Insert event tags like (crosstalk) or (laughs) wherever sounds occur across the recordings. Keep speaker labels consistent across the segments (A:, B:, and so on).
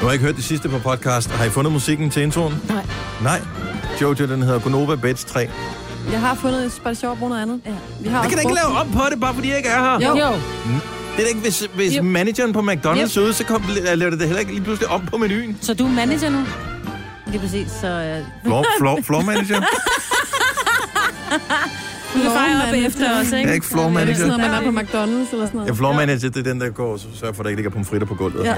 A: Du har ikke hørt det sidste på podcast. Har I fundet musikken til introen?
B: Nej.
A: Nej. Jojo, den hedder Gonova Beds 3.
B: Jeg har fundet et spejl sjov brugt noget andet. Ja. Vi har
A: Jeg kan da ikke lave om på det, bare fordi jeg ikke er her.
B: Jo.
C: Jo.
A: Det er da ikke, hvis, hvis
C: Jo.
A: manageren på McDonald's
C: Jo.
A: er ude, så kom, laver det da heller ikke lige pludselig om på menuen.
C: Så du er manager nu? Lige præcis, så... Øh,
A: Floor, (laughs) floor, floor manager?
C: du kan fejre op
B: manager.
C: efter os,
A: Jeg
C: ikke?
A: er ikke floor
B: Er det
A: manager.
B: sådan noget, man er på McDonald's eller sådan
A: Ja,
B: noget?
A: floor manager, det er den, der går og sørger for, at der ikke ligger pomfritter på gulvet. Ja.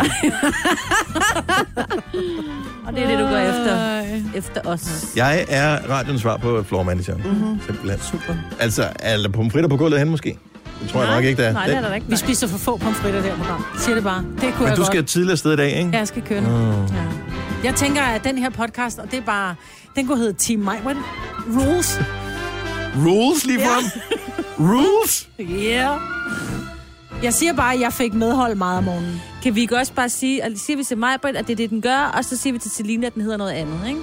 C: Og det er det, du går efter.
B: Ej.
C: Efter os.
A: Jeg er radioens svar på floor manager. Mm-hmm. Simpelthen. Super. Altså, er der pomfritter på gulvet hen måske? Det tror jeg nok ikke, der er.
B: Nej, det er der ikke.
C: Vi spiser for få pomfritter der program. Siger det bare. Det kunne
A: Men
C: jeg
A: du
C: godt.
A: skal Ah. tidligere afsted i dag, ikke?
C: Ja, Jeg skal køre nu. Ja. Jeg tænker, at den her podcast, og det er bare... Den kunne hedde Team Maiwan. Rules.
A: Rules lige frem. Rules?
C: Yeah. Jeg siger bare, at jeg fik medhold meget om morgenen.
D: Kan vi ikke også bare sige, og siger vi til mig, at det er det, den gør, og så siger vi til Selina, at den hedder noget andet, ikke?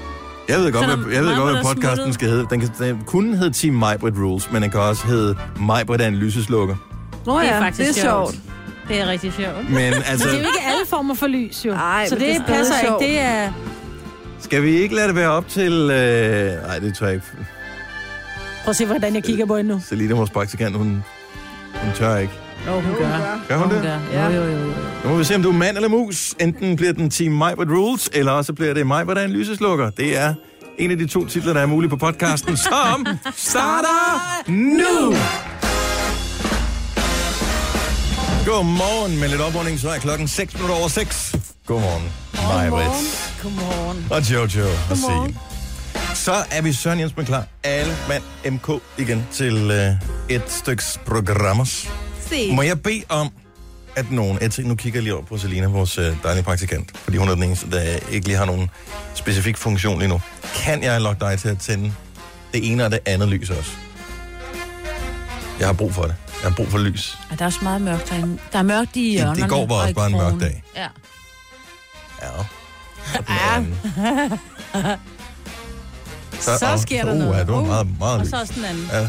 A: Jeg ved godt,
D: Så
A: hvad,
D: når
A: jeg ved godt,
D: Majbrit
A: hvad
D: er
A: podcasten
D: smuttet.
A: skal hedde. Den, kan, den kunne hedde Team Majbrit Rules, men den kan også hedde Majbrit er en lyseslukker.
B: Nå
D: Det er
B: ja, det er,
D: faktisk
B: sjovt.
D: sjovt. Det er rigtig sjovt.
A: Men altså,
C: Men det er jo ikke alle former for lys, jo.
B: Ej,
C: så
B: men det er
C: det,
B: stadig
C: passer
B: sjovt.
C: ikke. Det er...
A: skal vi ikke lade det være op til... Øh... Nej, det tror jeg ikke.
C: Prøv at se, hvordan jeg kigger på hende nu.
A: Selina, vores praktikant, hun, hun tør ikke.
C: Jo, hun gør.
A: Gør hun det?
C: Jo, jo, jo, jo.
A: Nu må vi se, om du er mand eller mus. Enten bliver den Team Majbert Rules, eller også bliver det Majbert er en lyseslukker. Det er en af de to titler, der er mulige på podcasten, som starter nu! Godmorgen. Med lidt oprunding, så er klokken 6 minutter over 6. Godmorgen, Majbert
C: Godmorgen.
A: og Jojo og Signe. Så er vi Søren Jensen klar. Alle mand MK igen til øh, et styks programmer. Må jeg bede om, at nogen... Jeg tænker, nu kigger jeg lige over på Selina, vores øh, dejlige praktikant, fordi hun er den eneste, der ikke lige har nogen specifik funktion lige nu. Kan jeg lokke dig til at tænde det ene og det andet lys også? Jeg har brug for det. Jeg har brug for lys.
D: Og der er også meget mørkt derinde. Der er mørkt i
A: Det,
D: hjørnerne.
A: det går bare
D: og i
A: også bare en mørk
D: krogen.
A: dag.
D: Ja.
A: Ja. Og den anden.
C: (laughs) Så
A: og-
C: sker der
A: uh,
C: noget.
A: Ja, det var meget, meget
C: Og
A: lys.
C: så også den anden.
A: Ja.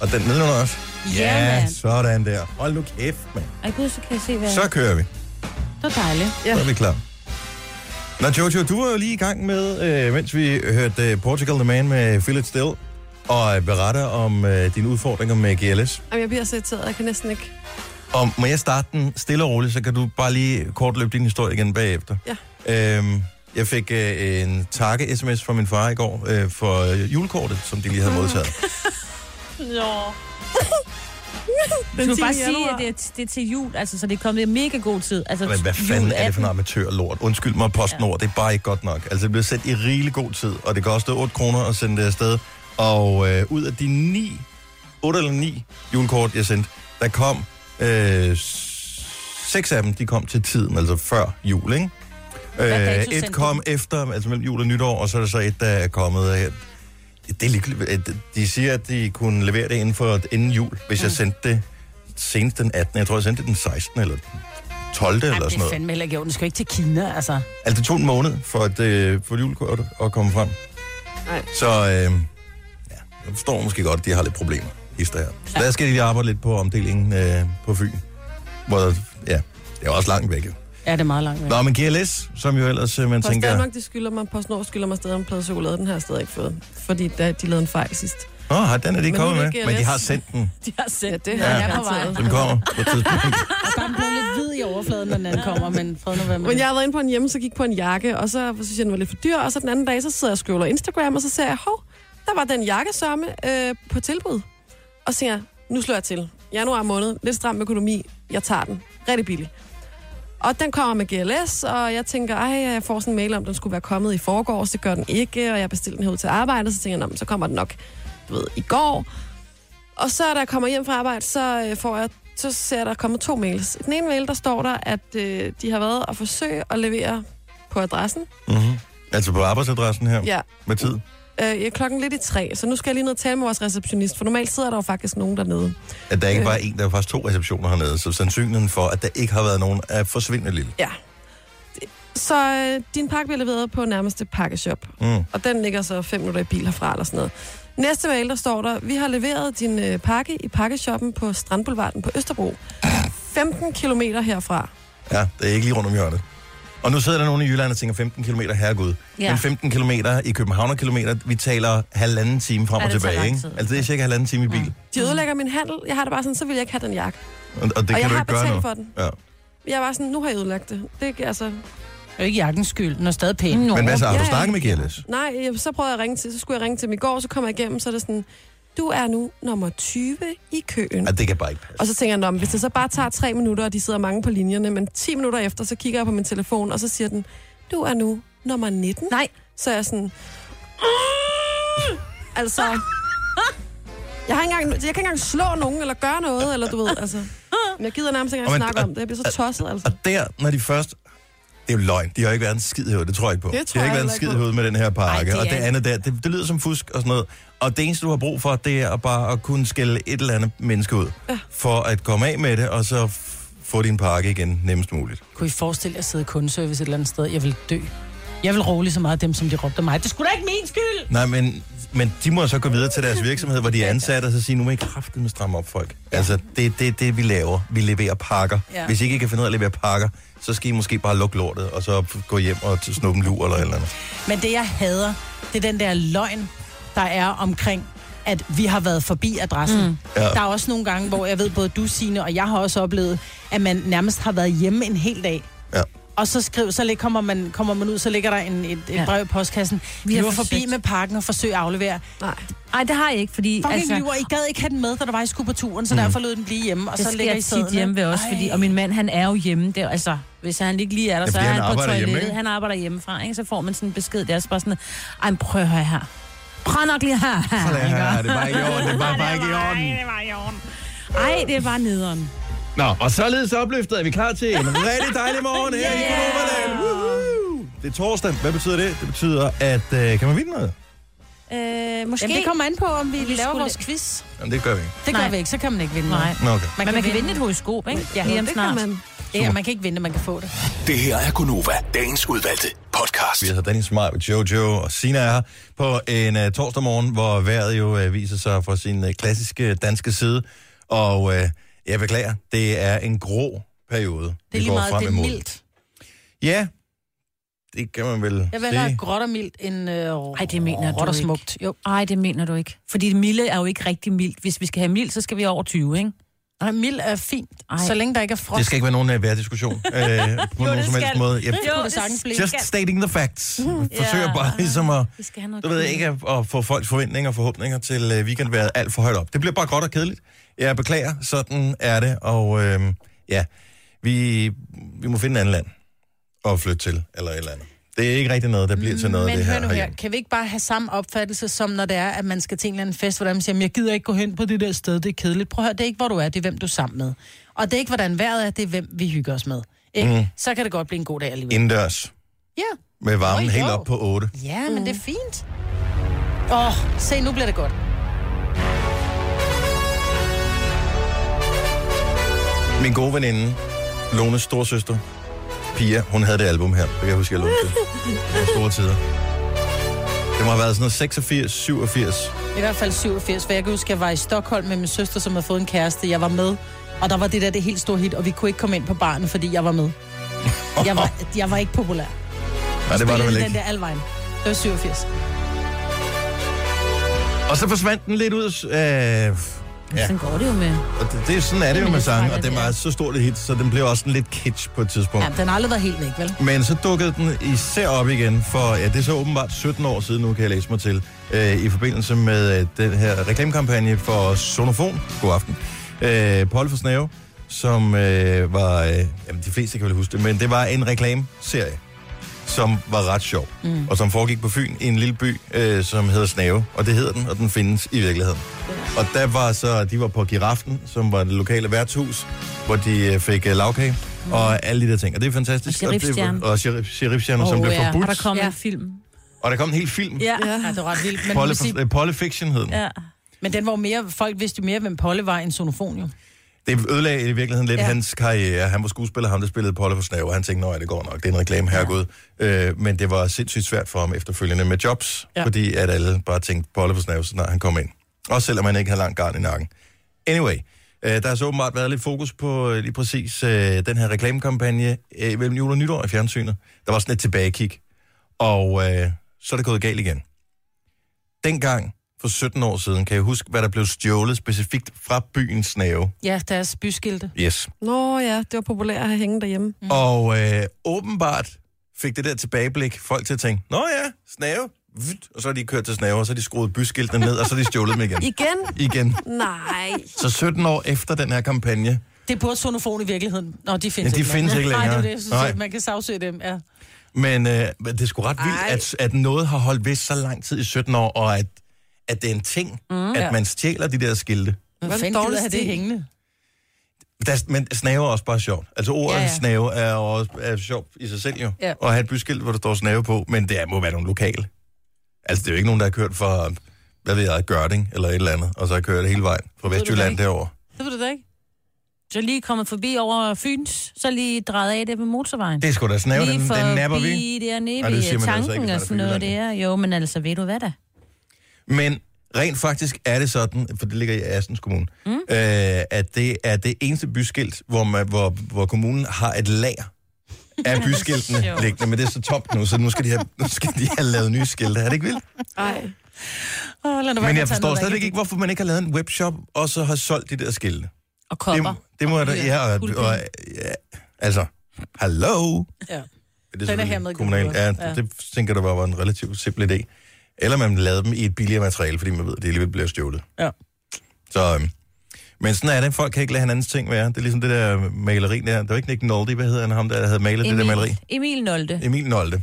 A: Og den nedenunder også.
C: Ja, mand.
A: sådan der. Hold nu kæft, mand.
D: Ej gud, så kan jeg se, hvad
A: Så kører vi.
C: Det er dejligt.
A: Så er vi klar. Nå, Jojo, du var jo lige i gang med, øh, mens vi hørte øh, Portugal The Man med Philip Still, og øh, berette om øh, dine udfordringer med GLS.
B: Jamen, jeg bliver så irriteret, jeg kan næsten ikke.
A: Og må jeg starte den stille og roligt, så kan du bare lige kort løbe din historie igen bagefter.
B: Ja.
A: Øhm, jeg fik øh, en takke-sms fra min far i går øh, for øh, julekortet, som de lige havde modtaget.
D: Du skal bare
B: 10.
D: sige,
B: januar.
D: at det er, det er til jul, altså, så det er kommet i mega god tid. Altså,
A: Men hvad
D: jul
A: fanden er det for
D: 18.
A: noget amatørlort? Undskyld mig, PostNord, ja. det er bare ikke godt nok. Altså, det bliver sendt i rigelig god tid, og det koster 8 kroner at sende det afsted. Og øh, ud af de 9, 8 eller 9 julekort, jeg sendte, der kom øh, 6 af dem, de kom til tiden, altså før jul, ikke?
D: dato
A: Øh,
D: sendte
A: et
D: du
A: kom efter, altså mellem jul og nytår, og så er der så et, der er kommet her. Det er ligegyldigt. Øh, De siger, at de kunne levere det inden for inden jul, hvis mm. jeg sendte det senest den 18. Jeg tror, jeg sendte det den 16. eller den 12. eller
C: Jamen,
A: sådan
C: det er
A: noget.
C: fandme heller ikke jo. Den skal jo ikke til Kina, altså.
A: Altså, det tog en måned for at øh, få julekortet at komme frem.
B: Nej.
A: Så øh, ja, jeg forstår måske godt, at de har lidt problemer i her. Så der skal de lige arbejde lidt på omdelingen øh, på Fyn. Hvor, der- ja, det er også langt væk. jo.
C: Ja, det er meget langt væk.
A: Nå, men GLS, som jo ellers, øh, man
B: Post
A: tænker...
B: Danmark, de skylder mig, PostNord skylder mig stadig en plade chokolade, den har jeg stadig ikke fået. Fordi da de lavede en fejl sidst.
A: Nå, har den er de ikke
B: Men nu
A: kommet
B: er
A: med,
B: det
A: men de
B: GLS.
A: har sendt den.
D: De har sendt
B: Ja, det
D: den.
B: har
A: Ja.
B: jeg garanteret.
A: Den kommer på et
B: (laughs)
A: tidspunkt.
C: Der er blevet lidt hvid i overfladen, når den anden kommer, men fred nu være med
B: Men
C: det.
B: jeg har været inde på en hjemme, så gik på en jakke, og så synes jeg, den var lidt for dyr. Og så den anden dag, så sidder jeg og scroller Instagram, og så ser jeg, hov, der var den jakkesørme øh, på tilbud. Og så tænker jeg, nu slår jeg til. Januar måned, lidt stram økonomi, jeg tager den. Rigtig billig. Og den kommer med GLS, og jeg tænker, ej, jeg får sådan en mail om, den skulle være kommet i forgårs, det gør den ikke, og jeg bestilte den herud til arbejde, og så tænker jeg, "Nå, men så kommer den nok, du ved, i går. Og så, da jeg kommer hjem fra arbejde, så øh, får jeg så ser jeg, der er kommet to mails. I den ene mail, der står der, at øh, de har været og forsøge at levere på adressen.
A: Mhm. Altså på arbejdsadressen her,
B: Ja,
A: med tid.
B: øh, ja, klokken lidt i tre, så nu skal jeg lige ned og tale med vores receptionist, for normalt sidder der jo faktisk nogen dernede.
A: At der ikke bare er en, der er faktisk to receptioner hernede, så sandsynligheden for, at der ikke har været nogen, er forsvindende lille.
B: Ja. Det- Så øh, din pakke bliver leveret på nærmeste pakkeshop,
A: Mm.
B: og den ligger så fem minutter i bil herfra eller sådan noget. Næste mail, der står der, vi har leveret din øh, pakke i pakkeshoppen på Strandboulevarden på Østerbro. 15 kilometer herfra.
A: Ja, det er ikke lige rundt om hjørnet. Og nu sidder der nogen i Jylland og tænker 15 km, herregud.
D: Ja.
A: Ja. Men 15 km i København og kilometer, vi taler halvanden time frem
D: Ja,
A: og
D: det tager
A: tilbage,
D: lang
A: ikke?
D: tid.
A: Altså det er cirka halvanden time i bil.
B: De ødelægger min handel. Jeg har det bare sådan, så vil jeg ikke have den jakke.
A: Og, og det
B: og
A: kan
B: jeg
A: du
B: har
A: ikke gøre
B: betalt
A: nu.
B: for den.
A: Ja.
B: Jeg var sådan, nu har jeg ødelagt det. det er ikke, altså,
C: Det er jo ikke jakkens skyld, den er stadig pæn.
D: Nå.
A: Men hvad så? Har du
B: Ja, ja.
A: snakket med Gilles?
B: nej, jeg- så prøvede jeg at ringe til, så skulle jeg ringe til dem i går, så kom jeg igennem, så er det sådan, du er nu nummer 20 i køen.
A: Ja, det kan bare ikke passe.
B: Og så tænker jeg, "Nå, men hvis det så bare tager tre minutter, og de sidder mange på linjerne, men 10 minutter efter, så kigger jeg på min telefon, og så siger den, du er nu nummer 19.
D: Nej.
B: Så er jeg sådan, "Åh!" altså, jeg, har ikke engang, jeg kan ikke engang slå nogen, eller gøre noget, eller du ved, altså. Men jeg gider nærmest ikke
A: Og
B: engang
A: men-
B: snakke om det. Jeg bliver så tosset, altså.
A: Og der, når de først... Det er jo løgn. De har ikke været en skid i hovedet. Det tror jeg ikke på.
B: Det
A: de
B: tror
A: har ikke været
B: jeg
A: en
B: heller ikke
A: skid i
B: på.
A: hovedet med den her pakke.
D: Ej, det
A: og
D: er
A: det andet der, det, det, lyder som fusk og sådan noget. Og det eneste, du har brug for, det er at bare at kunne skælde et eller andet menneske ud. Ja. For at komme af med det, og så f- få din pakke igen nemmest muligt.
C: Kunne I forestille jer at sidde i kundeservice et eller andet sted? Jeg vil dø. Jeg vil rolig så meget af dem, som de råbte af mig. Det skulle da ikke min skyld!
A: Nej, men, men de må så gå videre til deres virksomhed, hvor de er ansat, og så sige, nu må I kraftedeme stramme op, folk. Ja. Altså, det er det, det, vi laver. Vi leverer pakker.
C: Ja.
A: Ja. Hvis ikke I kan finde ud af at levere pakker, så skal I måske bare lukke lortet, og så gå hjem og t- snuppe en lur eller et eller andet.
C: Men det, jeg hader, det er den der løgn, der er omkring, at vi har været forbi adressen. Mm. Ja.
A: Ja.
C: Der er også nogle gange, hvor jeg ved, både du, Signe, og jeg har også oplevet, at man nærmest har været hjemme en hel dag.
A: Ja.
C: Og så, skriv, så lig- kommer, man, kommer man ud, så ligger der en, et, et
D: Ja.
C: ja. brev i postkassen.
D: Vi
C: Vi
D: har
C: er forbi
D: forsøgt.
C: med pakken og forsøg at aflevere.
B: Nej.
D: Nej, det har jeg ikke, fordi...
C: Fucking altså, lyver, I gad ikke have den med, da der var, I skulle på turen, så mm. derfor lød den blive hjemme, og
D: det
C: så
D: så
C: ligger I
D: sker
C: sæden,
D: tit hjemme ved os,
C: ikke?
D: fordi,
C: Ej.
D: og min mand, han er jo hjemme. Der, altså, hvis han ikke lige er der,
A: Ja,
D: så er
A: fordi
D: han,
A: han
D: på
A: arbejder hjemme,
D: toilettet.
A: ikke?
D: han arbejder hjemmefra, ikke? Så får man sådan en besked der, så bare sådan, ej, men prøv at høre her. Prøv nok lige her.
A: Sådan
D: ikke?
A: her, det er bare ikke i orden, det er bare- bare ikke i orden.
D: Nej, det var i orden. Ej, det er bare nederen.
A: Nå, og således opløftet er vi klar til en rigtig dejlig morgen her yeah. i Konobaland. Det er torsdag. Hvad betyder det? Det betyder, at... Øh, kan man vinde noget?
D: Øh, måske...
C: Jamen, det kommer an på, om vi, vi laver
D: skulle-
C: vores quiz.
A: Jamen, det gør vi ikke.
C: Det
D: Nej.
C: gør vi ikke, så kan man ikke vinde
D: Nej.
C: noget.
A: Nå, okay.
D: Men man kan vinde et horoskop, ikke?
C: Ja,
D: lige om
B: Det
D: snart.
B: kan man.
C: Ja, man kan ikke vinde, man kan få det.
E: Det her er Gunova, dagens udvalgte podcast.
A: Vi har Dennis Maj med Jojo og Sina er her på en uh, torsdag morgen, hvor vejret jo uh, viser sig fra sin uh, klassiske danske side. Og uh, jeg beklager, det er en grå periode,
C: Det er lige meget, det er mildt.
A: Ja, det kan man vel
C: Jeg vil hellere
A: sige.
C: have gråt og mildt end øh,
D: Ej, det mener du
C: råt og
D: ikke.
C: smukt. Jo.
D: Ej, det mener du ikke. Fordi det milde er jo ikke rigtig mildt. Hvis vi skal have mildt, så skal vi over 20, ikke?
C: Ej, mild er fint,
D: Ej.
C: Ej. så længe der ikke er frost.
A: Det skal ikke være nogen uh, værdiskussion
C: (laughs)
A: uh, på nogen som helst
D: skal.
A: måde. Jeg,
C: kunne det sagtens blive.
A: Just stating the facts. Forsøger bare ligesom at,
D: Vi skal have noget
A: du ved ikke, at, at få folks forventninger og forhåbninger til øh, weekendværet alt for højt op. Det bliver bare godt og kedeligt. Jeg beklager, sådan er det, og øh, ja, vi, vi må finde en anden land at flytte til, eller et eller andet. Det er ikke rigtig noget, der bliver til noget,
C: Men
A: det
C: hør
A: her,
C: nu her,
A: herhjemme.
C: kan vi ikke bare have samme opfattelse, som når det er, at man skal til en eller anden fest, hvor man siger, "Jamen, jeg gider ikke gå hen på det der sted, det er kedeligt. Prøv at høre, det er ikke, hvor du er, det er, hvem du er sammen med. Og det er ikke, hvordan vejret er, det er, hvem vi hygger os med. Ikke? Mm. Så kan det godt blive en god dag alligevel.
A: Indendørs,
C: Ja,
A: med varmen
C: Nå,
A: helt
C: jo.
A: op på 8.
C: ja men det er fint. Åh, oh, se, nu bliver det godt.
A: Min gode veninde, Lones storsøster, Pia, hun havde det album her. Det kan jeg huske, jeg lånte det. Det var store tider. Det må have været sådan noget 86, 87.
C: I hvert fald 87, for jeg kan huske, jeg var i Stockholm med min søster, som havde fået en kæreste. Jeg var med, og der var det der det helt store hit, og vi kunne ikke komme ind på baren, fordi jeg var med. Jeg var, jeg var ikke populær.
A: Nej, det var det vel
C: Spillede
A: ikke.
C: Den der alvejen. Det var 87.
A: Og så forsvandt den lidt ud. Øh, ja,
D: Ja. Sådan går det jo med.
A: og det, det, sådan er det jo med
D: det tror jeg,
A: sange, og
D: det
A: den
D: er.
A: var så stort et hit, så den blev også sådan lidt kitsch på et tidspunkt.
C: Ja, den har aldrig været helt væk, vel?
A: Men så dukkede den især op igen, for ja, det er så åbenbart 17 år siden, nu kan jeg læse mig til, øh, i forbindelse med øh, den her reklamekampagne for Sonofon. God aften. Øh, Paul for Snæve, som øh, var, øh, jamen de fleste kan vel huske det, men det var en reklameserie, som var ret sjov, mm. og som foregik på Fyn i en lille by, øh, som hedder Snave, og det hedder den, og den findes i virkeligheden. Og der var så, de var på Giraften, som var det lokale værtshus, hvor de øh, fik øh, lavkage, mm. og alle de der ting, og det er fantastisk.
D: Og sheriffstjernen.
A: Og sheriff- sheriffstjerner, oh, som
C: Åh,
A: blev
C: ja.
A: forbudt.
D: Og der kommer
C: Ja.
D: ja. en film.
A: Og der kom en hel film.
D: Ja.
C: Ja, det var ret vildt.
A: Polle,
C: Men, Polle, sige,
A: øh, Polle Fiction hed den.
D: ja.
C: men den var jo mere, folk vidste jo mere, hvem Polle var, end sonofon jo.
A: Det ødelagde i virkeligheden lidt ja.
C: Ja.
A: hans karriere. Han var skuespiller, ham der spillede Polle for Snave, og han tænkte, nej, det går nok, det er en reklame, herregud. Ja. Øh, men det var sindssygt svært for ham efterfølgende med jobs, ja.
C: Ja.
A: fordi at alle bare tænkte, Polle for Snave, så snart han kom ind. Også selvom han ikke havde langt garn i nakken. Anyway, Øh, der har så åbenbart været lidt fokus på øh, lige præcis øh, den her reklamekampagne øh, mellem jul og nytår i fjernsynet. Der var sådan et tilbagekig. Og øh, så er det gået galt igen. Dengang, for 17 år siden, kan jeg huske, hvad der blev stjålet specifikt fra byens snave.
C: Ja, deres byskilte.
A: Yes.
B: Nå ja, det var populært at have hængen derhjemme.
A: Mm. Og øh, åbenbart fik det der tilbageblik folk til at tænke, Nå ja, snave. Vut. Og så har de kørt til snave, og så har de skruet byskiltene ned, og så har de stjålet dem igen. (laughs)
B: Igen?
A: igen.
B: Nej.
A: Så 17 år efter den her kampagne,
C: Det burde sonofon i virkeligheden. Nå, de findes
A: Ja, de
C: ikke
A: findes ikke
C: Nej, det er
A: længere.
C: det, jeg synes, Nej.
A: Nej.
C: man kan sagsøge dem. Ja.
A: men øh, men det er sgu ret vildt, at, at noget har holdt ved så lang tid i 17 år, og at, at det er en ting, mm, at man stjæler de der skilte.
C: Hvad
B: Hvad
C: fanden
B: dårlig
C: gider have det
B: stil.
C: hængende?
A: Der, er- men snave er også bare sjovt. Altså ordet
C: Ja,
A: ja,
C: ja.
A: ja. snave er jo også er sjovt i sig selv jo.
C: Ja.
A: Ja. Og have et byskilt, hvor der står snave på, men det er- må være nogle lokale. Altså det er jo ikke nogen, der har kørt fra, hvad ved jeg, Gørding eller et eller andet, og så har kørt hele vejen fra
D: du
A: Vestjylland
D: ikke.
A: derover.
B: Det var det da ikke.
D: Så lige kommet forbi over Fyns, så lige drejet af det på motorvejen.
A: Det er sgu da snave, den,
D: lige
A: den napper vi.
D: Lige der nede
A: Ej, det siger
D: ved
A: man altså ikke, hvis
D: tanken og
A: man er
D: sådan noget
A: fra Jylland,
D: der. Jo, men altså, ved du hvad da?
A: Men rent faktisk er det sådan, for det ligger i Assens Kommune, mm. øh, at det er det eneste byskilt, hvor, man, hvor, hvor kommunen har et lager af byskiltene
D: sjovt.
A: liggende. Men det er så tomt nu, så nu skal de have, nu skal de have lavet nye skilte. Er det ikke vildt?
B: Nej.
C: Åh, lad nu
A: Men
C: være med
A: jeg
C: at tage
A: forstår
C: noget, der
A: stadigvæk ikke, hvorfor man ikke har lavet en webshop, og så har solgt de der skilte.
D: Og
A: Det,
D: kopper.
A: det må jeg da... Ja, og, og, ja, altså, hallo?
C: Ja.
A: Det
C: Den er
A: selvfølgelig
C: hermed
A: kommunalt.
C: gjort.
A: Ja,
C: Ja.
A: ja. Det tænker du bare var en relativt simpel idé. Eller man lavede dem i et billigere materiale, fordi man ved, at det alligevel bliver stjålet.
C: Ja.
A: Så, øhm, men sådan er det. Folk kan ikke lade hinandens ting være. Det er ligesom det der maleri der. Det var ikke Nick Nolte, hvad hedder han, ham der, der havde malet Emil. det der maleri?
D: Emil Nolde.
A: Emil Nolte.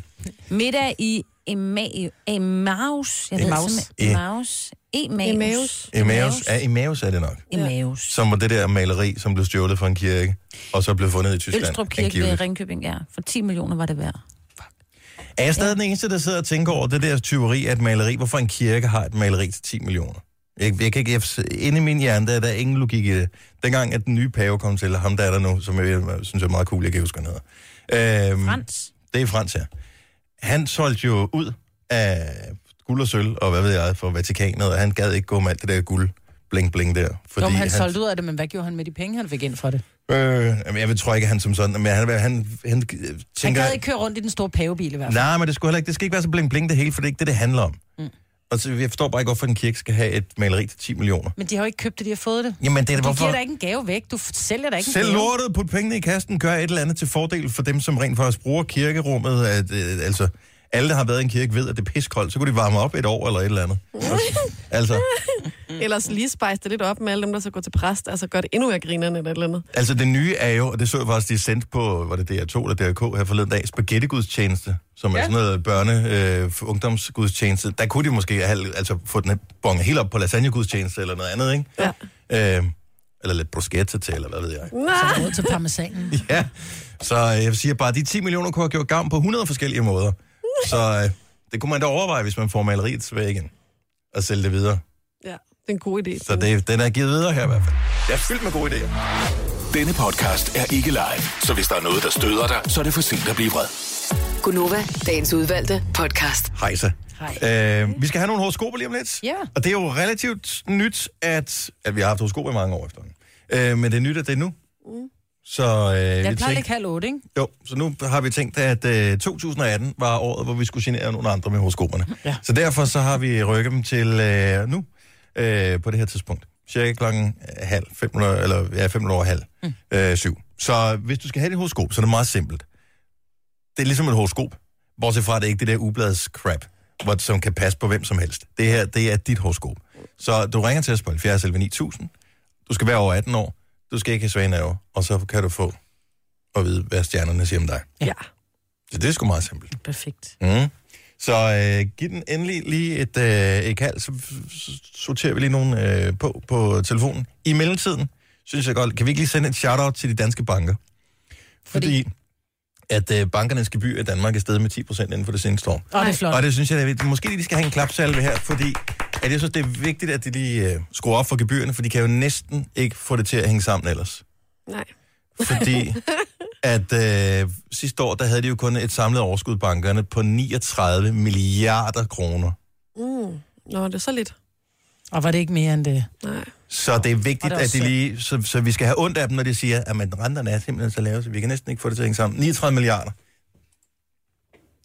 D: Middag i Ema- Emmaus. Jeg ved
C: Emmaus.
D: simpelthen- Emmaus. Emmaus.
B: Emmaus.
A: Emmaus. Ja, Emmaus er det nok.
D: Emmaus.
A: Som var det der maleri, som blev stjålet fra en kirke, og så blev fundet i Tyskland.
D: Ølstrup Kirke
A: angiveligt.
D: ved Ringkøbing, ja. For 10 millioner var det værd.
A: Er jeg stadig den eneste, der sidder og tænker over det der tyveri af et maleri? Hvorfor en kirke har et maleri til 10 millioner? Jeg, jeg kan ikke, jeg, inde i min hjerne, der er der ingen logik i det. Dengang, at den nye pave kom til, ham der er der nu, som jeg, jeg synes er meget cool, jeg kan ikke huske, hvad han hedder. Øhm,
D: Frans.
A: Det er Frans, ja. Han solgte jo ud af guld og sølv, og hvad ved jeg, for Vatikanet, og han gad ikke gå med alt det der guld bling bling der. Fordi
C: Fordi Nå, men han, solgte ud af det, men hvad gjorde han med de penge, han fik ind for det?
A: Øh, jamen, jeg tror ikke, han som sådan, men han, han, han øh,
C: Han
A: tænker...
C: gad ikke køre rundt i den store pavebil i hvert fald.
A: Nej, men det, skulle heller ikke, det skal ikke være så bling-bling det hele, for det er ikke det, det handler om. Mm. Og så, jeg forstår bare ikke, hvorfor en kirke skal have et maleri til 10 millioner.
C: Men de har jo ikke købt det, de har fået det.
A: Jamen, det er
C: Du
A: hvorfor...
C: giver da ikke en gave væk. Du f- sælger da ikke en
A: Selv
C: gave.
A: lortet, put pengene i kassen, gør et eller andet til fordel for dem, som rent faktisk bruger kirkerummet. At, øh, altså, alle, der har været i en kirke, ved, at det er piskoldt, så kunne de varme op et år eller et eller
C: (laughs)
A: andet. Og, altså,
B: Ellers lige spice det lidt op med alle dem, der så går til præst. Altså gør det endnu mere grinerne eller et eller andet.
A: altså, det nye er jo, og det så jeg faktisk, de sendte på, var det DR2 eller DRK her forleden dag, spaghettigudstjeneste, som ja. er sådan noget børne, øh, ungdomsgudstjeneste. Der kunne de måske have, altså, få den bonget helt op på lasagnegudstjeneste eller noget andet, ikke?
B: Ja.
A: Øh, eller lidt bruschetta til, eller hvad ved jeg.
B: Nej.
C: Råd til parmesanen.
A: (laughs) Ja, så øh, jeg siger bare, at de 10 millioner kunne have gjort gavn på 100 forskellige måder. Så øh, det kunne man da overveje, hvis man får maleriet tilbage igen og sælge det videre.
B: Ja, det er en god idé.
A: Så det, den er givet videre her i hvert fald.
E: Jeg er fyldt med gode idéer. Denne podcast er ikke live, så hvis der er noget, der støder dig, så er det for sent at blive vred.
F: Gunova, dagens udvalgte podcast.
A: Hej så. Øh, vi skal have nogle horoskoper lige om lidt.
C: Ja.
A: Og det er jo relativt nyt, at, at vi har haft horoskoper i mange år efterhånden. Øh, men det er nyt, at det er nu. Så, øh,
C: Mm. Jeg
A: vi
C: plejer
A: tænker-
C: ikke halv otte, ikke?
A: Jo, så nu har vi tænkt, at øh, 2018 var året, hvor vi skulle genere nogle andre med horoskoperne.
C: Ja.
A: Ja. Så derfor så har vi rykket dem til øh, nu, øh, på det her tidspunkt. Cirka klokken øh, halv, fem, minutter- eller ja, fem minutter over halv, mm. øh, syv. Så hvis du skal have et horoskop, så er det meget simpelt. Det er ligesom et horoskop, bortset fra, at det ikke er det der ubladets crap, hvor, som kan passe på hvem som helst. Det her, det er dit horoskop. Så du ringer til os på 70 11 9000. Du skal være over 18 år. Du skal ikke have svage nerver, og så kan du få at vide, hvad stjernerne siger om dig.
B: Ja.
A: Så det er sgu meget simpelt.
D: Perfekt.
A: Mm. Så øh, giv den endelig lige et, øh, et kald, så så sorterer vi lige nogen øh, på på telefonen. I mellemtiden, synes jeg godt, kan vi ikke lige sende et shout-out til de danske banker? Fordi, Fordi at øh, bankernes gebyr i Danmark er steget med 10% inden for det seneste år.
C: Og det er flot.
A: Og det synes jeg, det er vigtigt. Måske de skal have en klapsalve her, fordi at jeg synes, det er vigtigt, at de lige øh, skruer op for gebyrerne, for de kan jo næsten ikke få det til at hænge sammen ellers.
B: Nej.
A: Fordi at øh, sidste år, der havde de jo kun et samlet overskud bankerne på 39 milliarder kroner.
B: Nå, det er så lidt.
C: Og var det ikke mere end det?
B: Nej.
A: Så det er vigtigt,
C: Og det er
A: at
C: også
A: de lige, så, så vi skal have ondt af dem, når de siger, at man, renterne er simpelthen så lave, så vi kan næsten ikke få det til at hænge sammen. 39 milliarder.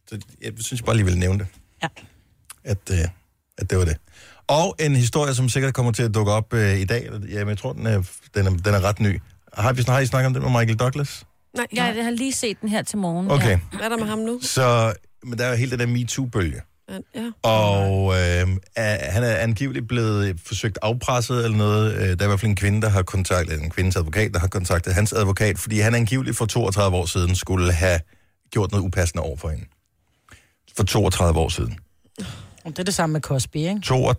A: Så jeg synes bare lige, vil nævne det.
C: Ja.
A: At, øh, at det var det. Og en historie, som sikkert kommer til at dukke op øh, i dag, eller, jamen, jeg tror, den er, den er, den er ret ny. Har, vi, snak- har I snakket om den med Michael Douglas?
B: Nej, ja.
D: Jeg har lige set den her til morgen.
A: Okay,
D: Ja.
A: ja.
B: hvad er der med ham nu?
A: så men der er jo hele det der MeToo-bølge.
B: Ja.
A: Og øh, er, han er angiveligt blevet øh, forsøgt afpresset eller noget. Øh, Der er i hvert fald en kvinde, der har kontaktet, en kvindes advokat, der har kontaktet hans advokat, fordi han angiveligt for 32 år siden skulle have gjort noget upassende over for hende. For 32 år siden.
C: Det er det samme med Cosby, ikke?
A: To og...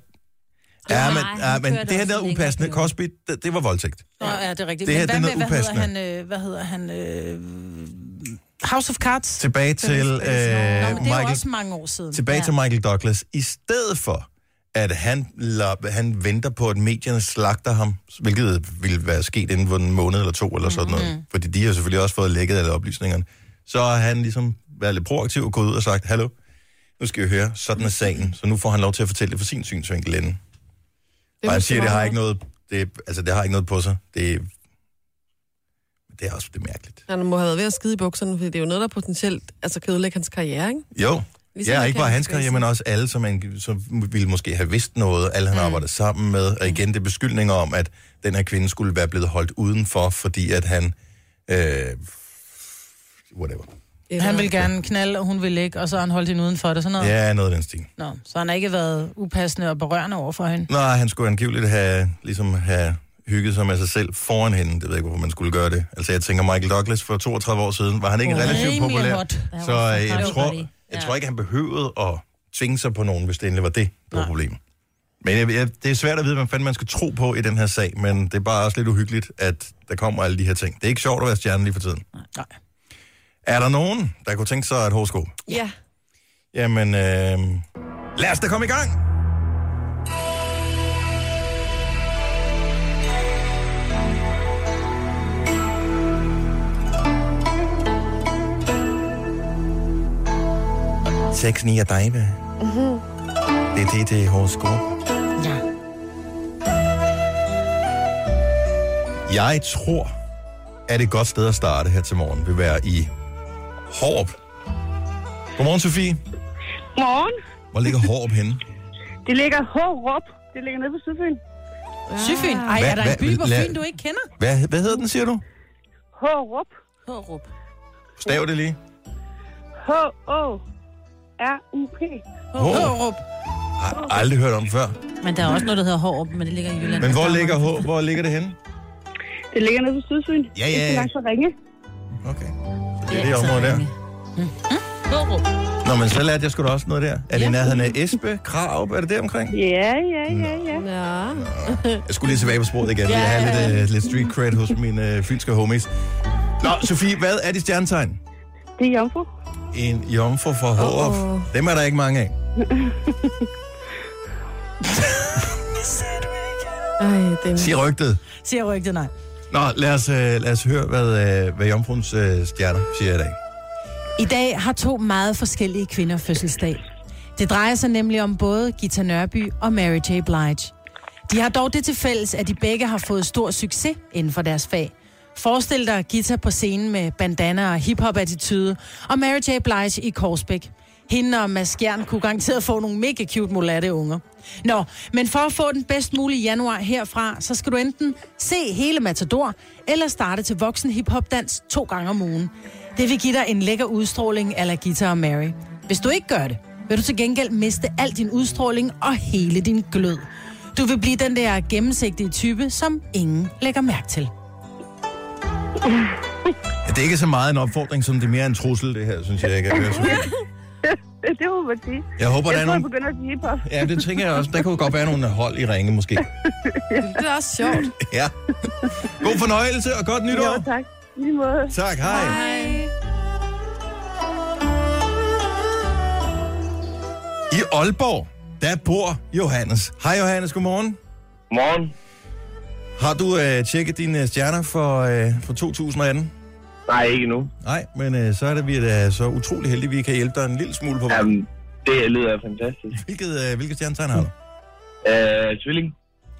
A: Ja,
D: Nej,
A: men, ja,
D: han
A: men
D: kørte
A: det her
D: også
A: der
D: en
A: upassende,
D: længere
A: Cosby, det, det var voldtægt.
C: Nå, ja, det er rigtigt.
A: Det her,
C: Men hvad
A: det er
C: med,
A: noget
C: hvad hedder han, øh, hvad hedder han, øh, House of Cards?
A: Tilbage til, øh,
C: Nå, men det er jo
A: Michael,
C: også mange år siden.
A: tilbage
D: Ja.
A: til Michael Douglas. I stedet for, at han, la- han venter på, at medierne slagter ham, hvilket ville være sket inden for en måned eller to eller sådan noget, fordi de har selvfølgelig også fået lækket alle oplysningerne, så har han ligesom været lidt proaktiv og gået ud og sagt, hallo, nu skal jeg høre, sådan er sagen, så nu får han lov til at fortælle det fra sin synsvinkel inden. Og han siger, det har ikke noget, det, altså, det har ikke noget på sig. Det, det er også det er mærkeligt.
B: Han må have været ved at skide i bukserne, fordi det er jo noget, der potentielt altså, kan ødelægge hans karriere, ikke?
A: Jo,
B: Ligesom
A: ja,
B: med
A: ikke bare
B: Kevin
A: hans karriere,
B: Spacey.
A: men også alle, som, han, som ville måske have vidst noget, alle han mm. arbejder sammen med. Og igen, det er beskyldninger om, at den her kvinde skulle være blevet holdt udenfor, fordi at han... Øh, whatever.
B: Eller-
C: Han vil gerne knalde, og hun vil ikke, og så har han holdt hende uden for det, sådan noget.
A: Ja, noget af den stil.
C: Nå, så han har ikke været upassende og berørende over for
D: Mm.
C: hende.
A: Nej, han skulle angiveligt have, ligesom have hygget sig med sig selv foran hende. Det ved jeg ikke, hvorfor man skulle gøre det. Altså, jeg tænker, Michael Douglas for 32 år siden, var han ikke
C: Oh,
A: relativt
C: rimelig
A: populær?
C: hot.
D: Ja,
A: Så
D: hvorfor
A: øh,
D: kan
A: jeg
D: du
A: tror,
D: godt lide?
A: jeg
D: Ja.
A: tror ikke, han behøvede at tvinge sig på nogen, hvis det endelig var det, der var problemet. Men jeg, jeg, det er svært at vide, hvad fanden man skal tro på i den her sag, men det er bare også lidt uhyggeligt, at der kommer alle de her ting. Det er ikke sjovt at være stjerne lige for tiden.
C: Nej.
A: Er der nogen, der kunne tænke sig et horoskop?
B: Ja.
A: Jamen, øh, lad os da komme i gang! Seks, ni og dig, mm-hmm. Det er det, det er horoskop.
C: Ja.
A: Jeg tror, at et godt sted at starte her til morgen vil være i Hårup. Godmorgen, Sofie.
G: Morgen.
A: Hvor ligger Hårup henne?
G: Det ligger Hårup. Det ligger nede på Sydfyn.
C: Syfyn. Ej,
A: Hvad-
C: er der en
A: hvad-
C: by på
A: lad-
C: Fyn, du ikke kender?
A: Hvad, hvad hedder den, siger du?
G: Hårup.
D: Hårup.
A: Stav det lige.
G: H-O-R-U-P.
A: Hårup.
C: Hårup.
A: Har aldrig hørt om før.
D: Men der er også noget, der hedder Hårup, men det ligger i Jylland.
A: Men hvor
D: Der er
A: ligger,
D: mange-
A: H- hvor ligger det henne?
G: Det ligger nede på Sydfyn.
A: Ja, ja,
G: Ikke så
A: ja.
G: langt fra Ringe.
A: Okay. Så Det er det område der.
D: Hårup.
A: Nå, men så lærte jeg sgu da også noget der. Er det i nærheden af Espe, Krav, er det der omkring?
G: Ja, ja, ja, ja.
B: Ja.
A: Jeg skulle lige tilbage på sporet igen. Jeg har lidt, uh, lidt street cred hos mine uh, fynske homies. Nå, Sofie, hvad er dit stjernetegn?
G: Det er Jomfru.
A: En jomfru fra Hårup.
B: Åh.
A: Dem er der ikke mange af.
B: Ej, det er...
A: Sig rygtet.
C: Siger rygtet nej.
A: Nå, lad os, øh, lad os høre, hvad, øh, hvad jomfruens øh, stjerner siger i dag.
C: I dag har to meget forskellige kvinder fødselsdag. Det drejer sig nemlig om både Gita Nørby og Mary J. Blige. De har dog det til fælles, at de begge har fået stor succes inden for deres fag. Forestil dig Gita på scenen med bandana og hiphop-attitude, og Mary J. Blige i Korsbæk. Hende og Mads Gjern kunne garanteret få nogle mega cute mulatte unger. Nå, men for at få den bedst mulige januar herfra, så skal du enten se hele Matador, eller starte til voksen hiphop-dans to gange om ugen. Det vil give dig en lækker udstråling ala Gita og Mary. Hvis du ikke gør det, vil du til gengæld miste al din udstråling og hele din glød. Du vil blive den der gennemsigtige type, som ingen lægger mærke til.
A: Det er ikke så meget en opfordring, som det er mere en trussel, det her, synes jeg, jeg kan høre. Sofie.
G: (laughs) Det, det må man sige.
A: Jeg håber, der
G: Jeg
A: er
G: tror, jeg
A: nogle...
G: begynder at sige hiphop.
A: Ja, det tænker jeg også. Der kunne godt være nogle hold i ringe, måske.
G: (laughs)
B: Det er også sjovt.
A: Ja. God fornøjelse og godt
G: Jo,
A: nytår.
G: tak. I lige måde.
A: Tak, hej. I Aalborg, der bor Johannes. Hej Johannes, godmorgen.
H: Morgen.
A: Har du øh, tjekket dine øh, stjerner for, øh, for 2018?
H: Nej, ikke nu.
A: Nej, men øh, så er det vi er da så utrolig heldige, at vi kan hjælpe dig en lille smule på vej.
H: Jamen, det lyder fantastisk.
A: Hvilket, øh, hvilket stjernetegn har du?
H: Øh, tvilling.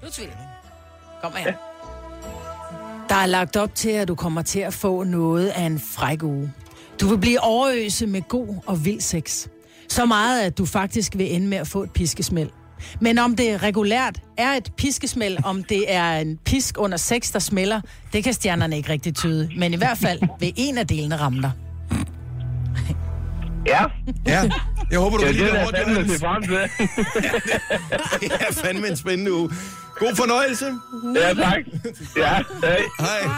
D: Nu tvivler
C: Kom her. Der er lagt op til, at du kommer til at få noget af en fræk uge. Du vil blive overøset med god og vild sex. Så meget, at du faktisk vil ende med at få et piskesmæld. Men om det regulært er et piskesmæld, om det er en pisk under sex, der smelter, det kan stjernerne ikke rigtig tyde. Men i hvert fald vil en af delene ramme dig.
H: Ja,
A: Ja. Jeg håber, du
H: ja
A: kan lide
H: det
A: det
H: er
A: ord,
H: fandme til
A: Jonas.
H: frem til.
A: Det (laughs) er fandme en spændende uge. God fornøjelse.
H: Ja, tak. Ja, hej.
A: Hej.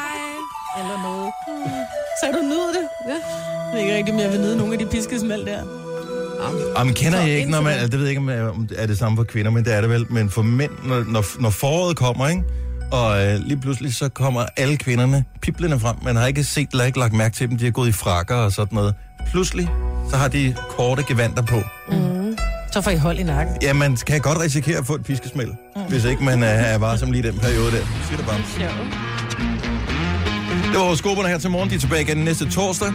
C: Eller noget. Så du nyder det? Ja. Jeg ved ikke rigtig, om jeg vil nyde nogle af de piskesmæld der.
A: Jamen, kender
B: Så
A: jeg ikke, når man,
B: internet.
A: altså, det ved jeg ikke, om øh, om det er det samme for kvinder, men det er det vel. Men for mænd, når, når, når foråret kommer, ikke? og øh, lige pludselig så kommer alle kvinderne piblende frem. Man har ikke set eller ikke lagt mærke til dem. De har gået i frakker og sådan noget. Pludselig, så har de korte gevanter på.
C: Så får I hold i nakken.
A: Ja, man kan godt risikere at få et piskesmæld, mm. hvis ikke man er, er varsom lige i den periode der. Siger det bare. Det var horoskoperne her til morgen. De er tilbage igen næste torsdag.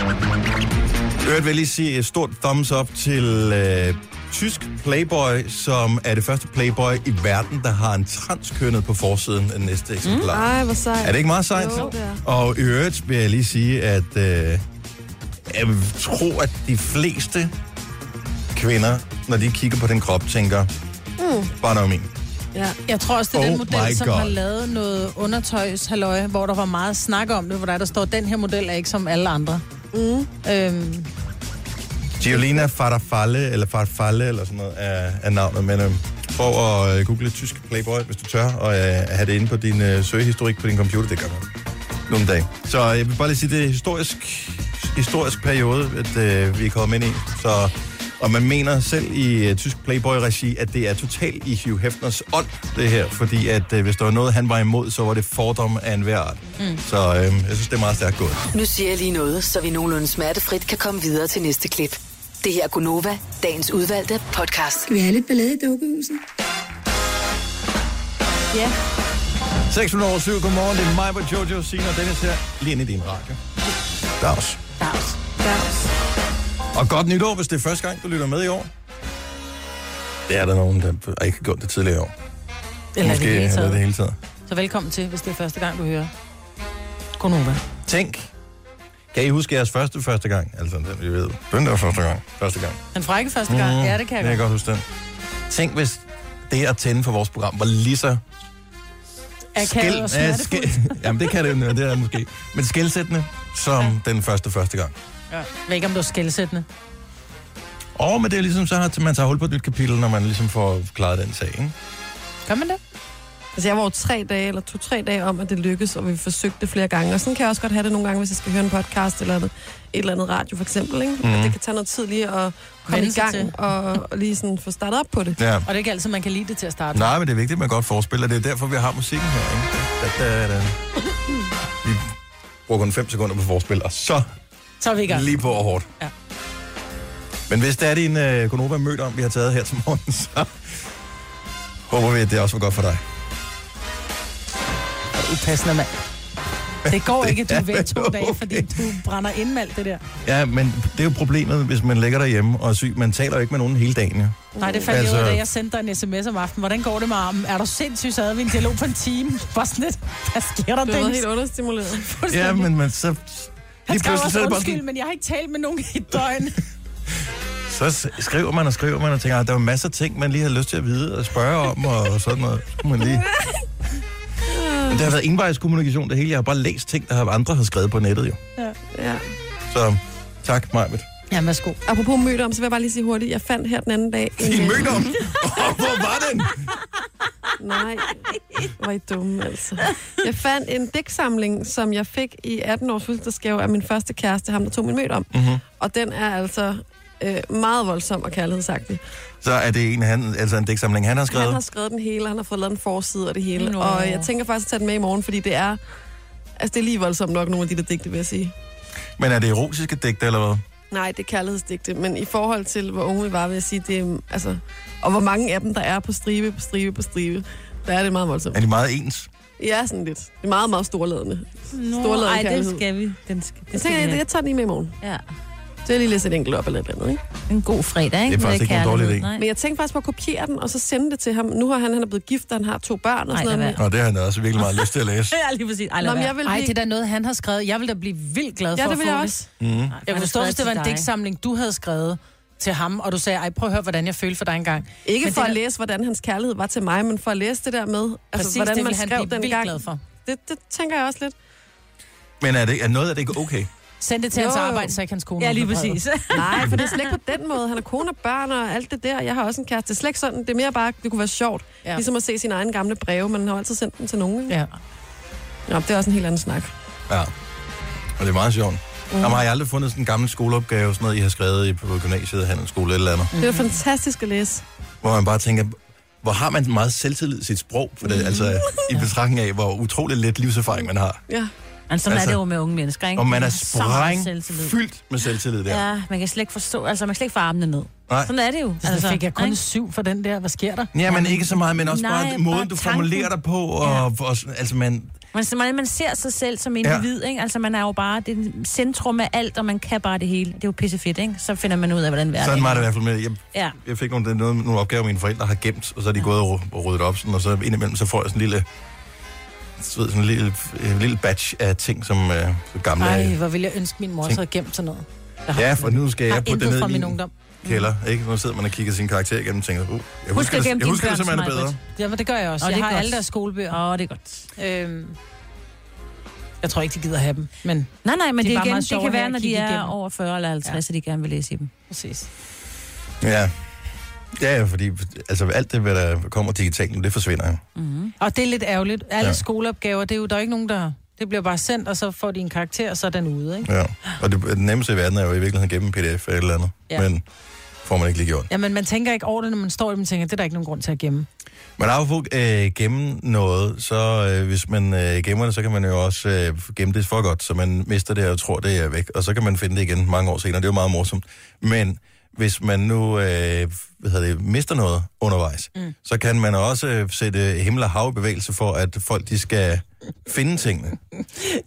A: I Øvrigt vil jeg lige sige et stort thumbs up til øh, tysk Playboy, som er det første Playboy i verden, der har en transkønnet på forsiden af næste eksemplar.
B: Ej, hvor sejt.
A: Er det ikke meget sejt?
B: Jo, det er.
A: Og i øvrigt vil jeg lige sige, at øh, jeg tror, at de fleste kvinder, når de kigger på den krop, tænker, mm. bare noget om min.
B: Ja.
C: Jeg tror også, det er
A: Oh
C: den
A: my
C: model, som
A: God.
C: har lavet noget undertøjshalløje, hvor der var meget snak om det, hvor der, der står, den her model er ikke som alle andre. Mm. Øhm,
A: Giolina Farfalle, eller Farfalle, eller sådan noget, er, er navnet. Men øh, prøv at øh, google tysk Playboy, hvis du tør, og øh, have det inde på din øh, søgehistorik på din computer. Det gør man nogle dage. Så øh, jeg vil bare lige sige, det er historisk, historisk periode, at øh, vi er kommet ind i. Så, og man mener selv i øh, tysk Playboy-regi, at det er totalt i Hugh Hefners ånd, det her. Fordi at øh, hvis der var noget, han var imod, så var det fordom af enhver art. Mm. Så øh, jeg synes, det er meget stærkt gået.
F: Nu siger jeg lige noget, så vi nogenlunde smertefrit kan komme videre til næste klip. Det her er Gunova, dagens udvalgte podcast.
I: Vi har lidt ballade i dukkehuset.
A: 6 minutter over 7. Godmorgen. Det er mig, hvor Jojo, Signe og Dennis her. Lige ind i din radio. Dags.
C: dags.
A: Og godt nytår, hvis det er første gang, du lytter med i år. Det er der nogen, der ikke har gjort det tidligere i år.
C: Eller
A: Måske
C: Måske, det hele
A: har det
C: taget.
A: hele taget.
C: Så velkommen til, hvis det er første gang, du hører. Godnova.
A: Tænk, kan I huske jeres første første gang? Altså, den, jeg ved, den der første gang. Første gang.
C: Den frække første gang. Mm. Ja, det kan jeg
A: jeg
C: godt.
A: godt huske den. Tænk, hvis det at tænde for vores program var lige så
C: Akavet og
A: Ja,
C: smertefuldt.
A: (laughs) jamen, det kan det jo, det er det måske. Men skældsættende som ja. den første første gang.
C: Ja. Jeg ved ikke, om det var skældsættende.
A: Og men det er ligesom så, at man tager hul på et nyt kapitel, når man ligesom får klaret den sag, ikke?
C: Kan man det?
B: Altså, jeg var jo tre dage, eller to-tre dage om, at det lykkedes, og vi forsøgte det flere gange. Og sådan kan jeg også godt have det nogle gange, hvis jeg skal høre en podcast eller et, et eller andet radio, for eksempel. Ikke? Mm. At det kan tage noget tid lige at komme
C: Vænne
B: i
C: sig til.
B: gang og, og lige sådan få startet op på det.
A: Ja.
C: Og det er ikke altid, man kan lide det til at starte.
A: Nej, men det er vigtigt, at man godt forspiller. Det er derfor, vi har musikken her, ikke? Da, da, da. Vi bruger kun 5 sekunder på forspil, og så
C: Så er vi i gang.
A: lige på og hårdt.
C: Ja.
A: Men hvis det er din øh, konoba mødt om, vi har taget her til morgen, (laughs) så håber vi, at det også var godt for dig.
C: Upassende, mand. Det går ikke,
A: (laughs)
C: at du
A: er
C: er væk to
A: vel
C: dage,
A: okay.
C: fordi du brænder ind med alt det der.
A: Ja, men det er jo problemet, hvis man ligger derhjemme og er syg. Man taler jo ikke med nogen hele dagen, ja.
C: Nej, det fandt
A: Altså-
C: altså... jeg ud af, da jeg sendte dig en sms om aftenen. Hvordan går det med armen? Er du sindssyg, så havde vi en dialog på en time. (laughs) Bare sådan lidt, hvad sker der,
B: Du var
C: Dennis?
B: helt understimuleret.
A: Ja, men man så...
C: Han
A: Lige
C: skrev
A: pludselig så
C: også
A: er det bare
C: undskyld,
A: sådan,
C: men jeg har ikke talt med nogen i et døgn.
A: så s- skriver man og skriver man og tænker, at der var masser af ting, man lige havde lyst til at vide og spørge om og, og sådan noget. Så kunne Man lige... Men det har været envejskommunikation det hele. Jeg har bare læst ting, der har andre har skrevet på nettet jo.
B: Ja.
A: Så tak, Majbet.
C: (laughs) Ja, værsgo.
B: Apropos mødom, så vil jeg bare lige sige hurtigt, jeg fandt her den anden dag... En,
A: I mødte om. Oh, hvor var den?
B: Nej, hvor er I dumme, altså. Jeg fandt en digtsamling, som jeg fik i 18 års fødselsdagsgave af min første kæreste, ham der tog min mødom.
A: Mm-hmm.
B: Og den er altså øh, meget voldsom og kærlighedsagtig.
A: Så er det en, han, altså en digtsamling, han har skrevet.
B: Han har skrevet den hele, han har fået lavet en forside og det hele.
C: Nå.
B: Nå. Og jeg tænker faktisk at tage den med i morgen, fordi det er... Altså, det er lige voldsomt nok nogle af de der digte, vil jeg sige.
A: Men er det erotiske digte eller hvad?
B: Nej, det er kærlighedsdigte, men i forhold til, hvor unge vi var, vil jeg sige, det er, altså, og hvor mange af dem, der er på stribe, på stribe, på stribe, der er det meget voldsomt.
A: Er de meget ens?
B: Ja, sådan lidt. Det er meget, meget storladende.
D: Nå,
B: Storladen
D: ej, den
B: kærlighed.
D: skal vi. Den skal, den skal
B: Jeg tænker,
D: vi
B: jeg,
D: have.
B: jeg tager den i med i morgen.
D: Ja.
B: Det er lige lidt et enkelt op eller et eller andet, ikke?
D: En god fredag, ikke?
A: Det er faktisk
D: Med
A: ikke nogen
D: kærlighed.
A: dårlig idé.
D: Nej.
B: Men jeg tænkte faktisk på at kopiere den, og så sende det til ham. Nu har han, han er blevet gift, og han har to børn og
D: Ej,
B: sådan
D: lad
B: noget.
D: være.
A: Og det har jeg da også virkelig meget lyst til at læse.
D: Ja, lige præcis. Ej,
B: Nå,
D: lad
B: men
D: være.
B: jeg vil
C: Ej,
B: blive...
C: det er da noget, han har skrevet. Jeg vil da blive vildt glad for
B: ja,
C: at
B: det vil
C: få
B: jeg også.
C: Jeg kunne forstå, hvis det var en digtsamling, du havde skrevet til ham, og du sagde, ej, prøv at høre, hvordan jeg følte for dig engang.
B: Ikke
C: Men
B: for
C: det
B: at
C: der-
B: læse, hvordan hans kærlighed var til mig, men for at læse det der med, altså,
C: Præcis,
B: hvordan
C: det
B: man
C: vil han
B: skrev
C: blive
B: den
C: vildt
B: gang.
C: glad for.
B: Det, det tænker jeg også lidt.
A: Men er, det, er noget af det ikke okay?
C: Send det til
B: Jo,
C: hans
B: jo.
C: arbejde, så ikke hans kone.
D: Ja, lige
C: åbner brevet.
D: præcis.
B: Nej, for det er slet ikke på den måde. Han har kone og børn og alt det der. Jeg har også en kæreste. Det er slet ikke sådan. Det er mere bare, det kunne være sjovt.
C: Ja.
B: Ja. Ligesom at se sine egne gamle breve. Man har jo altid sendt dem til nogen. Ja.
C: Ja.
B: Nå, det er også en helt anden snak.
A: Ja. Og det er meget sjovt. Mm. Jamen, har I aldrig fundet sådan en gammel skoleopgave, sådan noget, I har skrevet i- på gymnasiet, handelsskole eller andet, mm.
C: Mhm.
B: Det er fantastisk at læse.
A: hvor man bare tænker, hvor har man meget selvtillid i sit sprog, for det, mm. altså, i betragtning af, hvor utrolig lidt livserfaring man har.
B: Ja.
D: Men sådan altså,
A: Altså,
D: er det jo med unge mennesker, ikke?
A: Og man er
D: Så meget
A: spræng
D: selvtillid.
A: fyldt med selvtillid der. Ja.
D: Ja, man kan slet ikke forstå, altså man kan slet ikke få armene ned.
A: Nej.
D: Sådan er det jo.
C: Altså, fik jeg kun
D: ikke?
C: syv for den der. Hvad sker der?
A: Ja, men ikke så meget, men også
D: Nej,
A: bare måden,
D: bare
A: du
D: tanken.
A: formulerer dig på. Og, ja. og, sådan- altså, man,
D: Man, man, man ser sig selv som individ, ja. ikke? Altså man er jo bare det centrum af alt, og man kan bare det hele. Det er jo pissefedt, ikke? Så finder man ud af, hvordan verden
A: sådan var det i
D: er.
A: hvert fald med. Jeg,
D: Ja.
A: jeg fik nogle, noget, nogle opgaver, mine forældre har gemt, og så er de gået og, og ryddet op, sådan, og så indimellem så får jeg sådan en lille, så ved, sådan en lille, en lille batch af ting, som øh, gamle...
C: Ej, hvor ville jeg ønske, min mor så
A: Tænk.
C: havde gemt sådan noget.
A: ja, for nu skal
C: Jeg har
A: jeg putte
C: intet
A: det
C: fra
A: ned i
C: min
A: min
C: ungdom.
A: kælder. Ikke? Nu sidder man og kigger sin karakter igennem og tænker, uh, jeg
D: Husk
A: husker,
D: at
A: det, jeg
D: gemme dine
A: husker det
D: børn,
A: simpelthen
D: Maj-Brit.
A: bedre.
C: Jamen, det gør jeg også.
D: Og
C: Og
D: det
C: jeg
D: er
C: har
D: godt.
C: alle deres skolebøger.
D: Åh, oh, det er godt.
C: Øhm, jeg tror ikke, de gider have dem, men
D: Nej, nej, men
C: De
D: det,
C: er
D: det,
C: bare
D: igen,
C: meget
D: det
C: sjove
D: kan
C: her
D: være,
C: at
D: når de
C: kigge
D: er
C: igennem.
D: over 40 eller 50, ja. at de gerne vil læse i dem.
C: præcis.
A: Ja. Ja, fordi altså, alt det, hvad der kommer digitalt, nu, det forsvinder jo.
D: Mhm.
C: Og det er lidt ærgerligt. Alle
A: Ja.
C: ja. skoleopgaver, det er jo, der er ikke nogen, der... Det bliver bare sendt, og så får de en karakter, og så er den ude, ikke?
A: Ja. Og det, det nemmeste i verden er jo i virkeligheden gennem pdf eller et eller andet. Ja.
C: Ja.
A: Men får man ikke lige gjort.
C: Jamen, man tænker ikke over det, når man står i dem, og tænker, det er der ikke nogen grund til at gemme.
A: Men apropos øh, gemme noget, så øh, hvis man øh, gemmer det, så kan man jo også øh, gemme det for godt, så man mister det og tror, det er væk. Og så kan man finde det igen mange år senere. Det er jo meget morsomt. Men hvis man nu øh, hvad hedder det, mister noget undervejs, mm. så kan man også øh, sætte himmel og hav i bevægelse for, at folk de skal finde tingene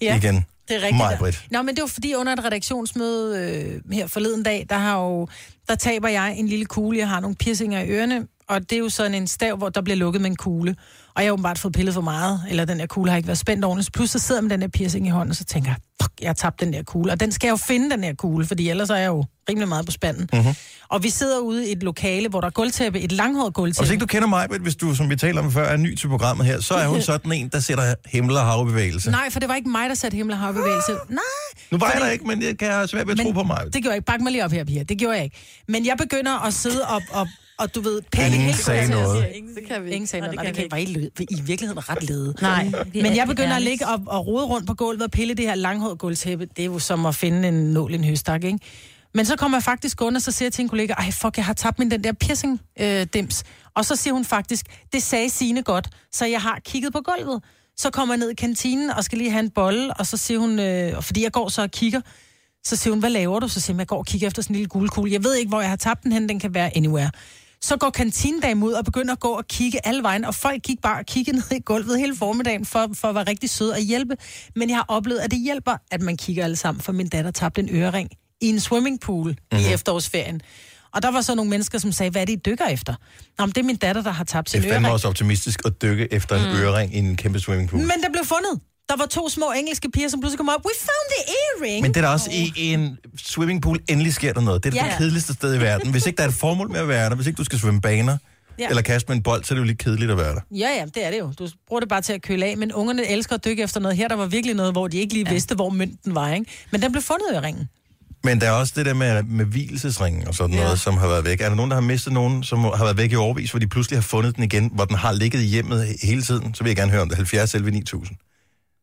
A: ja. igen.
C: Det er rigtigt.
A: Maj-Brit.
C: Nå, men det var fordi under et redaktionsmøde øh, her forleden dag, der, har jo, der taber jeg en lille kugle. Jeg har nogle piercinger i ørerne, og det er jo sådan en stav, hvor der bliver lukket med en kugle. Og jeg har åbenbart fået pillet for meget, eller den her kugle har ikke været spændt ordentligt. Plus så sidder jeg med den her piercing i hånden, og så tænker jeg, fuck, jeg har tabt den der kugle. Og den skal jeg jo finde, den her kugle, fordi ellers er jeg jo rimelig meget på spanden. Mm-hmm. Og vi sidder ude i et lokale, hvor der er gulvtæppe, et langhåret
A: Og hvis
C: gulvtæppe.
A: ikke du kender mig, hvis du, som vi taler om før, er ny til programmet her, så
C: (laughs)
A: er hun sådan en, der sætter himmel og hav i bevægelse.
C: Nej, for det var ikke mig, der satte himmel og hav i bevægelse. Nej,
A: Nu var jeg der ikke, men det kan jeg have svært ved at tro på mig.
C: Det gjorde jeg ikke. Bak mig lige op her, Pia. Det gjorde jeg ikke. Men jeg begynder at sidde op og, og du ved, pille
A: Ingen
C: helt
A: sagde
C: til at
A: noget.
C: sige-
B: Det kan vi ikke.
C: Ingen sagde noget.
B: Nej,
C: Nej, det kan
B: vi
C: var I, lød- I virkeligheden ret lede. Mm.
D: Nej.
C: Men jeg begynder at ligge og, og rode rundt på gulvet og pille det her langhårede gulvtæppe. Det er jo som at finde en nål i en høstak, ikke? Men så kommer jeg faktisk under, og så siger jeg til en kollega, ej fuck, jeg har tabt min den der piercing-dims. og så siger hun faktisk, det sagde Sine godt, så jeg har kigget på gulvet. Så kommer jeg ned i kantinen og skal lige have en bolle, og så siger hun, øh, og fordi jeg går så og kigger, så siger hun, hvad laver du? Så siger hun, jeg går og kigger efter sådan en lille guldkugle. Jeg ved ikke, hvor jeg har tabt den hen, den kan være anywhere. Så går kantinedame ud og begynder at gå og kigge alle vejen, og folk gik bare og kiggede ned i gulvet hele formiddagen for, for at være rigtig søde og hjælpe. Men jeg har oplevet, at det hjælper, at man kigger alle sammen, for min datter tabte en ørering i en swimmingpool
A: Mhm.
C: mm-hmm. i efterårsferien. Og der var så nogle mennesker, som sagde, hvad er det, I dykker efter? Nå, men det er min datter, der har tabt sin
A: Det er
C: ørering.
A: fandme også optimistisk at dykke efter en mm. ørering i en kæmpe swimmingpool. Men,
C: Men der blev fundet. Der var to små engelske piger, som pludselig kom op. We found the earring!
A: Men det er da også i en swimmingpool, endelig sker der noget. Det er da
C: Ja.
A: det kedeligste sted i verden. Hvis ikke der er et formål med at være der, hvis ikke du skal svømme baner,
C: Ja.
A: eller kaste med en bold, så er det jo lige kedeligt at være der.
C: Ja, ja, det er det jo. Du bruger det bare til at køle af, men ungerne elsker at dykke efter noget. Her der var virkelig noget, hvor de ikke lige ja. vidste, hvor mønten var, ikke? Men den blev fundet i ringen.
A: Men der er også det der med, med hvilesesringen og sådan noget,
C: Ja.
A: som har været væk. Er der nogen, der har mistet nogen, som har været væk i overvis, hvor de pludselig har fundet den igen, hvor den har ligget i hjemmet he- hele tiden? Så vil jeg gerne høre om det. 70 11 9000.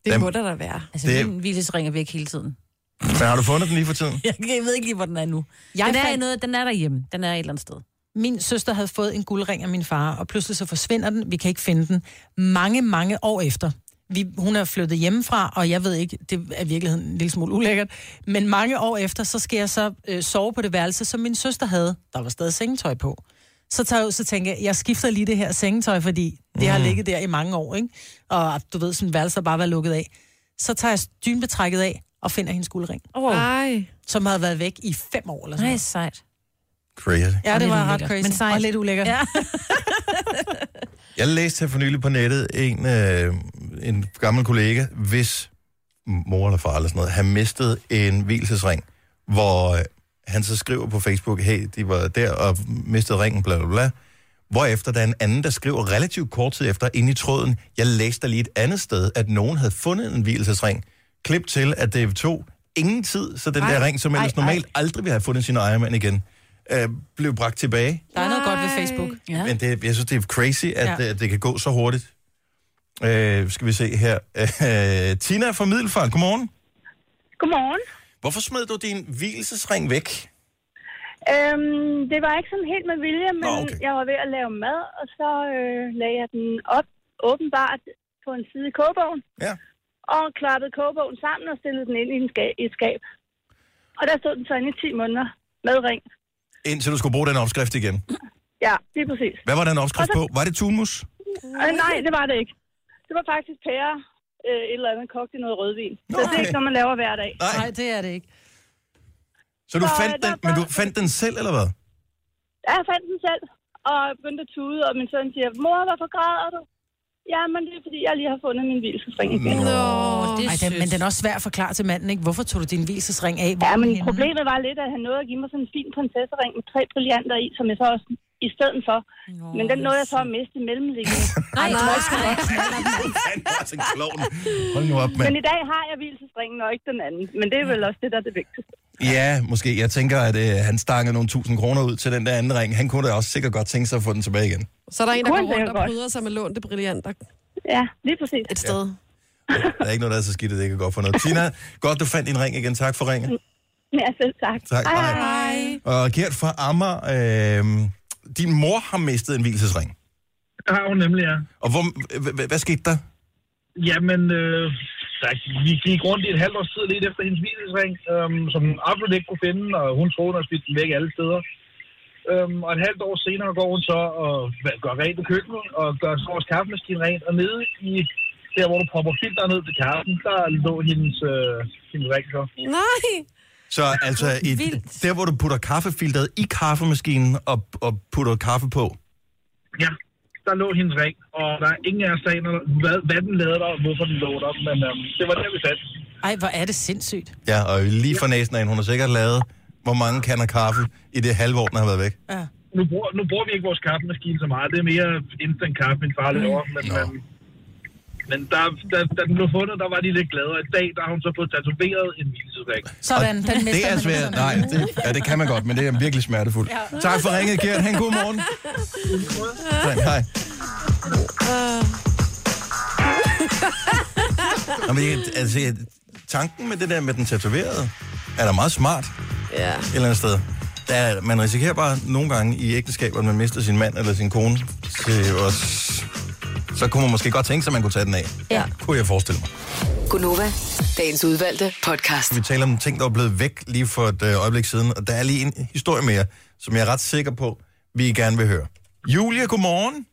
B: Det
A: Dem-
B: må der da være.
D: Altså,
A: Det-
D: det... min hvilesring er væk hele tiden.
A: Men har du fundet den lige for tiden?
D: (laughs) Jeg ved ikke lige, hvor den er nu.
C: Jeg
D: den, er
C: fandt-
D: i noget, den er derhjemme. Den er et eller andet sted.
C: Min søster havde fået en guldring af min far, og pludselig så forsvinder den. Vi kan ikke finde den. Mange, mange år efter. Vi, hun er flyttet hjemmefra, og jeg ved ikke, det er i virkeligheden en lille smule ulækkert. Men mange år efter, så skal jeg så øh, sove på det værelse, som min søster havde. Der var stadig sengetøj på. Så, tager jeg ud, så tænker jeg, jeg skifter lige det her sengetøj, fordi det har ligget der i mange år, ikke? Og du ved, sådan et værelse har bare været lukket af. Så tager jeg dynbetrækket af, og finder hendes guldring,
D: Oh.
B: Nej.
C: som havde været væk i fem år eller sådan
D: Nej,
C: noget.
D: sejt.
A: Crazy.
C: Ja, det
D: lidt
C: var ret
D: ulækkert,
C: crazy.
D: men sejt.
C: Og lidt ulækkert.
D: Ja.
A: Jeg læste her for nylig på nettet en, øh, en gammel kollega, hvis mor eller far eller sådan noget, havde mistet en hvilesesring, hvor øh, han så skriver på Facebook, hey, de var der og mistede ringen, bla bla bla. Hvorefter der er en anden, der skriver relativt kort tid efter inde i tråden, jeg læste der lige et andet sted, at nogen havde fundet en hvilesesring. Klip til, at det tog ingen tid, så den ej, der ring, som ellers
C: ej, ej.
A: normalt aldrig ville have fundet sin ejermand igen, øh, blev bragt tilbage.
C: Der er noget godt ved Facebook.
D: Ja.
A: Men det, jeg synes, det er crazy, at
C: Ja.
A: ja. det, det kan gå så hurtigt. Øh, skal vi se her. Øh, Tina fra Middelfart, godmorgen.
G: Godmorgen.
A: Hvorfor smed du din hvilesesring væk?
G: Øhm, det var ikke sådan helt med vilje, men
A: Nå, okay.
G: jeg var ved at lave mad, og så øh, lagde jeg den op åbenbart på en side i kogebogen,
A: Ja.
G: og klappede kogebogen sammen og stillede den ind i, en ska- i et skab. Og der stod den så inde i 10 måneder med ring.
A: Indtil du skulle bruge den opskrift igen.
G: Ja, lige præcis.
A: Hvad var den opskrift
G: Og
A: på? Var det tunmus?
G: Øh, nej, det var det ikke. Det var faktisk pære, øh, et eller andet kogt i noget rødvin. Så det er
A: Okay.
G: ikke noget, man laver hver dag.
C: Nej,
A: Nej.
C: det er det ikke.
A: Så du
G: så
A: fandt
G: der
A: den, men du
G: var-
A: fandt den selv, eller hvad?
G: Ja, jeg fandt den selv, og begyndte at tude, og min søn siger, mor, hvorfor græder du? Jamen, det er fordi, jeg lige har fundet min hvilesesring igen.
A: Nå.
D: Åh, det er
C: Ej, den, men den er også svær at forklare til manden, ikke? Hvorfor tog du din hvilesesring af? Hvor
G: Ja,
C: er den
G: men
C: henne?
G: problemet var lidt, at han nåede at give mig sådan en fin prinsessering med tre brillanter i, som jeg så også i stedet for. Men den nåede jeg så at miste i (laughs) mellemliggende.
D: (laughs) Nej, nej.
A: Han var sådan en klovn. Hold nu op,
G: Men
A: mand.
G: i dag har jeg hvilesesringen og ikke den anden. Men det er vel også det, der er det vigtigste.
A: Ja, måske. Jeg tænker, at øh, han stanger nogle tusind kroner ud til den der anden ring. Han kunne da også sikkert godt tænke sig at få den tilbage igen.
B: Så er der en, der
G: Kunne
B: går rundt
G: sikkert
B: og
G: godt.
B: bryder sig med lånte brillanter
G: Ja, lige præcis.
B: et sted.
A: Der er ikke noget, der er så skidt, at det ikke er godt for noget. Tina, godt, du fandt din ring igen. Tak for ringen.
G: Ja, selv tak.
A: Tak.
G: Hej,
A: Hej.
G: hej.
B: Nej.
A: Og Gert fra Ammer, øh, din mor har mistet en hvilesesring.
H: Det har hun nemlig, ja.
A: Og hvor, h- h- hvad skete der?
H: Jamen, øh, der, vi gik rundt i et halvt års tid lidt efter hendes hvilesring, øhm, som hun absolut ikke kunne finde, og hun troede, hun havde smidt den væk alle steder. Øhm, og et halvt år senere går hun så og hva- gør rent i køkkenet, og gør så vores kaffemaskine rent, og nede i der, hvor du propper filter ned til kaffen, der lå hendes, øh, hendes ring så.
B: Nej.
A: Så altså, i,
D: Vildt.
A: der hvor du putter kaffefilteret i kaffemaskinen og, og putter kaffe på.
H: Ja, der lå hendes ring, og der er ingen af os der aner, hvad, hvad den lavede der, og hvorfor den lå der, men øhm, det var der, vi fandt.
C: Ej, hvor er det sindssygt.
A: Ja, og lige for næsen af hende, hun har sikkert lavet, hvor mange kander kaffe i det halve år, den har været væk.
H: Nu bruger, nu bruger vi ikke vores kaffemaskine så meget. Det er mere instant kaffe, min far laver. Men,
A: Nå.
H: øhm, men da, da, da den blev fundet, der var de lidt gladere. I dag, der har hun så fået tatoveret en hvilesesring.
C: Sådan, den mister
A: Det er
C: man
A: svært.
C: sådan.
A: Nej, det, ja, det kan man godt, men det er virkelig smertefuldt. Ja. Tak for ringet, Gert. Ha' en god morgen. Tak, hej. Nå, men, jeg- altså, jeg- tanken med det der med den tatoverede er da meget smart et
B: Ja.
A: eller andet sted. Der, er- man risikerer bare nogle gange i ægteskaber, at man mister sin mand eller sin kone til os. Så kunne man måske godt tænke sig, at man kunne tage den af.
D: Ja.
A: Kunne jeg forestille mig.
F: Gunova, dagens udvalgte podcast.
A: Vi taler om ting, der er blevet væk lige for et øh, øjeblik siden, og der er lige en historie mere, som jeg er ret sikker på, vi gerne vil høre. Julia, godmorgen.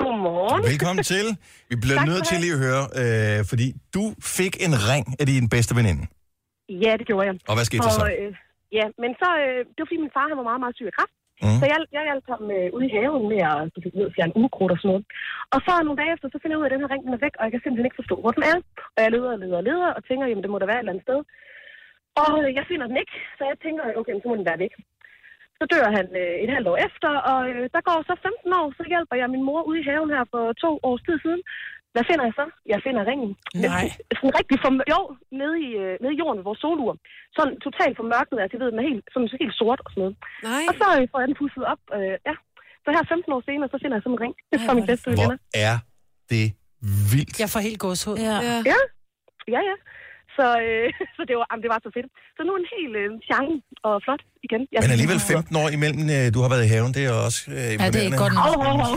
G: Godmorgen.
A: Velkommen til. Vi bliver
G: Tak
A: nødt
G: skal
A: til
G: du
A: lige at høre, øh, fordi du fik en ring af din bedste veninde.
G: Ja, det gjorde jeg.
A: Og hvad skete der så?
G: øh, ja, men så, øh, det var fordi min far han var meget, meget syg af kræft.
A: Mm.
G: Mm. Så jeg, jeg hjalp ham øh, ude i haven med at du ved, fjerne ukrudt og sådan noget. Og så nogle dage efter, så finder jeg ud af, at den her ring den er væk, og jeg kan simpelthen ikke forstå, hvor den er. Og jeg leder og leder og leder, og tænker, jamen det må der være et eller andet sted. Og øh, jeg finder den ikke, så jeg tænker, okay, men så må den være væk. Så dør han øh, et halvt år efter, og øh, der går så 15 år, så hjælper jeg min mor ude i haven her for to års tid siden. Hvad finder jeg så? Jeg finder ringen.
C: Nej.
G: Sådan rigtig for, jo, nede i, øh, nede i jorden ved vores solur. Sådan totalt formørket, altså jeg ved, den er helt, sådan, så helt sort og sådan noget.
B: Nej.
G: Og så øh, får jeg den pusset op, øh, ja. Så her 15 år senere, så finder jeg sådan en ring
C: Ej,
G: fra
C: hvor
G: min
C: er det
G: bedste
A: Hvor
G: venner.
A: er det vildt.
C: Jeg får helt gåshud.
D: Ja.
B: Ja.
G: Ja, ja. Så, øh, (laughs) så det, var, jamen, det var så fedt. Så nu er en helt øh, charme og flot igen. Jeg
A: Men alligevel 15 år imellem, øh, du har været i haven, det er også øh,
C: Ja, det er ikke godt nok.
G: Hov, hov, (laughs) hov.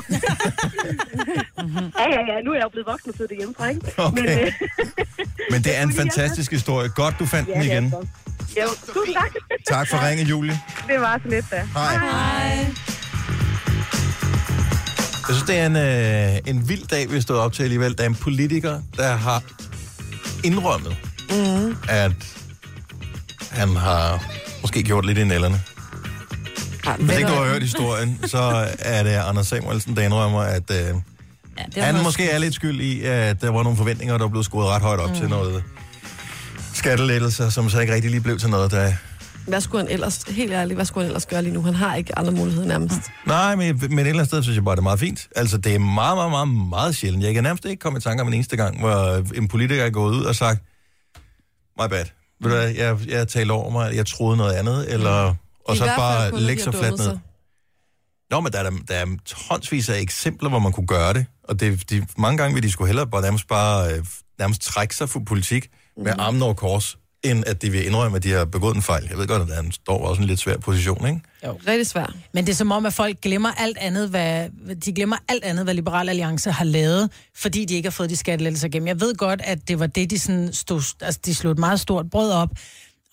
G: ja, ja, ja. Nu er jeg jo blevet voksen og sidder hjemmefra, ikke?
A: Okay.
G: øh,
A: Men det er en
G: Fordi jeg-
A: fantastisk historie. Godt, du fandt
G: ja,
A: den igen.
G: øh, Ja, så. jo, tusind tak. (laughs)
A: Tak for ringe, Julie.
G: det var så lidt, da.
A: Hej. Jeg synes, det er en, øh, en vild dag, vi stod op til alligevel. Der er en politiker, der har indrømmet, mm. at han har måske gjort lidt i nælderne. Hvis ikke du har hørt historien, så er det Anders Samuelsen, der indrømmer, at øh,
D: Ja, det
A: han måske er lidt skyld i, at der var nogle forventninger, der blev skruet ret højt op mm. til noget skattelettelser, som så ikke rigtig lige blev til noget, der...
B: Hvad skulle han ellers, helt ærligt, hvad skulle han ellers gøre lige nu? Han har ikke andre muligheder nærmest.
A: Nej, men, men et eller andet sted synes jeg bare, det er meget fint. Altså, det er meget, meget, meget, meget sjældent. Jeg kan nærmest ikke komme i tanke om en eneste gang, hvor en politiker er gået ud og sagt, my bad, ved du hvad, jeg, jeg talte over mig, jeg troede noget andet, eller... Og
B: Mm. I
A: så
B: hvert fald
A: bare
B: kun, når
A: lægge
B: de
A: sig
B: har
A: fladt
B: dummet
A: ned. Nå, men der er, da- der er tonsvis af eksempler, hvor man kunne gøre det. Og det, de, mange gange vil de skulle hellere bare nærmest, bare, øh, nærmest trække sig for politik med mm. armen over kors, end at de vil indrømme, at de har begået en fejl. Jeg ved godt, at han står også i en lidt svær position, ikke?
B: Rigtig svært.
C: Men det er som om, at folk glemmer alt andet, hvad, de glemmer alt andet, hvad Liberal Alliance har lavet, fordi de ikke har fået de skattelettelser igennem. Jeg ved godt, at det var det, de, sådan stod, altså, de slog et meget stort brød op.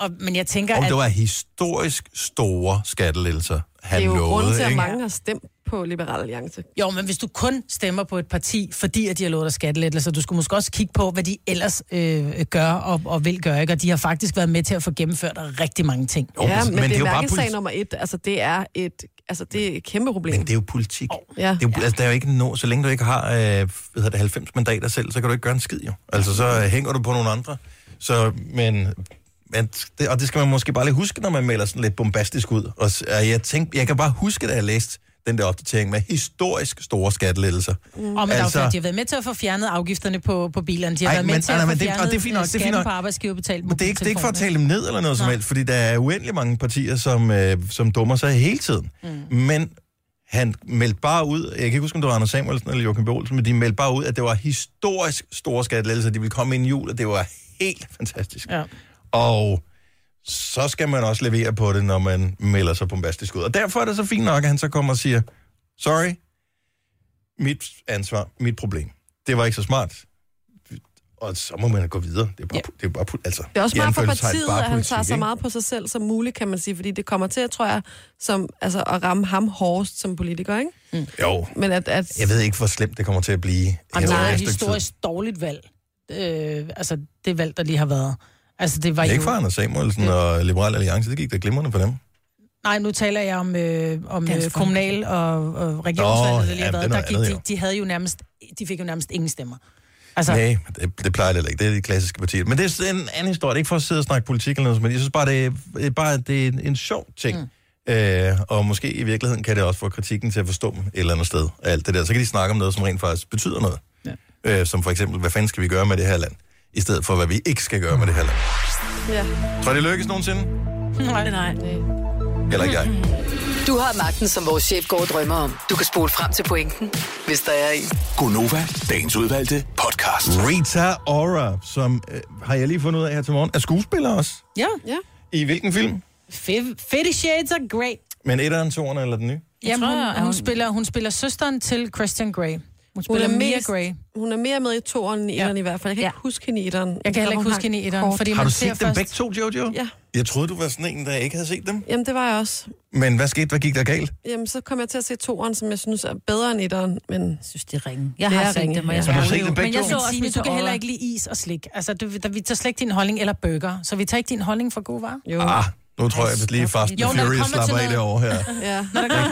C: Og, men jeg tænker,
A: Om
C: at...
A: det var historisk store skattelettelser, han
B: Det er jo
A: lovede,
B: grunden til, at
A: ikke?
B: mange har stemt på Liberal Alliance.
C: Jo, men hvis du kun stemmer på et parti, fordi at de har lovet dig skattelettelser, du skulle måske også kigge på, hvad de ellers øh, gør og, og vil gøre. Ikke? Og de har faktisk været med til at få gennemført rigtig mange ting.
A: Jo,
B: ja, men, men det,
A: jo
B: det er
A: bare
B: mærkesag
A: politi-
B: nummer et. Altså, det er et, altså, det er et kæmpe problem.
A: Men det er jo politik.
B: Ja.
A: Det er jo, altså, der er jo ikke no, så længe du ikke har øh, hvad hedder det, 90 mandater selv, så kan du ikke gøre en skid jo. Altså, så øh, hænger du på nogle andre. Så, men, men det, og det skal man måske bare lige huske, når man melder sådan lidt bombastisk ud. Og, s- øh, jeg, tænkte, jeg kan bare huske, da jeg læste den der opdatering med historisk store skattelettelser. Mm.
C: Og men altså, de har været med til at få fjernet afgifterne på, på bilerne. De har
A: Ej,
C: været med
A: men-
C: til
A: nej,
C: at
A: nej,
C: få
A: men det- og
C: fjernet
A: det er fint nok,
C: øh,
A: det er fint
C: skatten
A: nok.
C: på arbejdsgiverbetalt
A: Men det er, ikke, det er ikke for at tale
C: mobiltelefoner.
A: dem ned eller noget som helst, fordi der er uendelig mange partier, som, øh, som dummer sig hele tiden. Mm. Men han meldte bare ud, jeg kan ikke huske, om det var Anders Samuelsen eller Joachim B. Olsen, men de meldte bare ud, at det var historisk store skattelettelser, de ville komme ind i jul, og det var helt fantastisk.
C: Ja.
A: Og så skal man også levere på det, når man melder sig bombastisk ud. Og derfor er det så fint nok, at han så kommer og siger, sorry, mit ansvar, mit problem. Det var ikke så smart. Og så må man gå videre. Det er bare, ja. det er bare pu- altså,
B: Det er også
A: i
B: smart for
A: anførselstegn,
B: partiet,
A: bare
B: at han
A: politik,
B: tager så
A: ikke?
B: meget på sig selv som muligt, kan man sige. Fordi det kommer til, tror jeg, som, altså, at ramme ham hårdest som politiker, ikke?
A: Jo,
B: Men at, at
A: jeg ved ikke, hvor slemt det kommer til at blive.
C: Og det
A: her
C: var
A: over
C: et
A: et stykke tid.
C: historisk dårligt valg. Øh, altså, det valg, der lige har været. Altså, det var
A: Det er
C: jo...
A: ikke for Anders Samuelsen og Liberal Alliance, det gik da glimrende for dem.
C: Nej, nu taler jeg om, øh, om øh,
D: Dansk
C: kommunal og, og regionsvalget, der
A: Nå, ja,
C: lige har
A: det er
C: været. Der
A: noget
C: gik,
A: andet,
C: de,
A: jo.
C: de, havde jo nærmest, de fik jo nærmest ingen stemmer. Altså,
A: Så. Nej, det, det plejer det heller ikke. Det er de klassiske partier. Men det er en anden historie. Det er ikke for at sidde og snakke politik eller noget, men jeg synes bare, det er, det er bare det er en, en sjov ting. Mm. Øh, og måske i virkeligheden kan det også få kritikken til at forstå dem et eller andet sted. af Alt det der. Så kan de snakke om noget, som rent faktisk betyder noget. Ja. Øh, som for eksempel, hvad fanden skal vi gøre med det her land? I stedet for, hvad vi ikke skal gøre med det her land.
B: Ja.
A: Tror I, det lykkes nogensinde?
D: Nej, nej.
A: Heller ikke jeg.
F: Du har magten, som vores chef går og drømmer om. Du kan spole frem til pointen, hvis der er en.
E: Gonova, dagens udvalgte podcast.
A: Rita Ora, som øh, har jeg lige fundet ud af her til morgen, er skuespiller også.
C: ja,
B: ja.
A: I hvilken film?
C: Fe- Fifty Shades are great.
A: Men etteren, toeren eller den nye?
C: Jamen,
D: tror,
C: hun,
D: at
C: hun,
D: hun-
C: spiller, hun spiller søsteren til Christian Grey. Hun spiller
B: er
C: Mia
B: mest-
C: Grey.
B: Hun er mere med i toeren end i etteren i hvert fald. Jeg kan
D: Ja.
B: ikke huske hende i etteren.
C: Jeg kan heller ikke
B: Hun
C: huske hende i etteren,
B: kort-
C: fordi
A: Har
C: man
A: du
C: ser
A: set dem
C: først...
A: begge to, Jojo?
B: Ja,
A: Jeg troede, du var sådan en, der ikke havde set dem.
B: jamen det var jeg også.
A: Men hvad skete? Hvad gik der galt?
B: Jamen, så kom jeg til at se toeren, som jeg synes er bedre end etteren, men...
D: Jeg synes, det er ringe. Jeg
B: Det
D: har
B: er
D: set
B: ringe.
D: dem, og jeg
A: Men har du
D: sprog
A: set
D: jo.
A: dem begge
D: Men jeg
A: to?
D: så
A: Men
D: også
C: Signe,
D: Mr.
C: du kan heller
D: Aura.
C: ikke lide is og slik. Altså, du, der, vi tager slet ikke din holdning eller burger, så vi tager ikke din holdning for gode varer.
B: Jo,
A: Ah, nu tror jeg, at lige Fast and
C: Jo, når det
A: Furious
C: kommer til
A: slapper af
C: noget-
A: derovre her.
B: ja.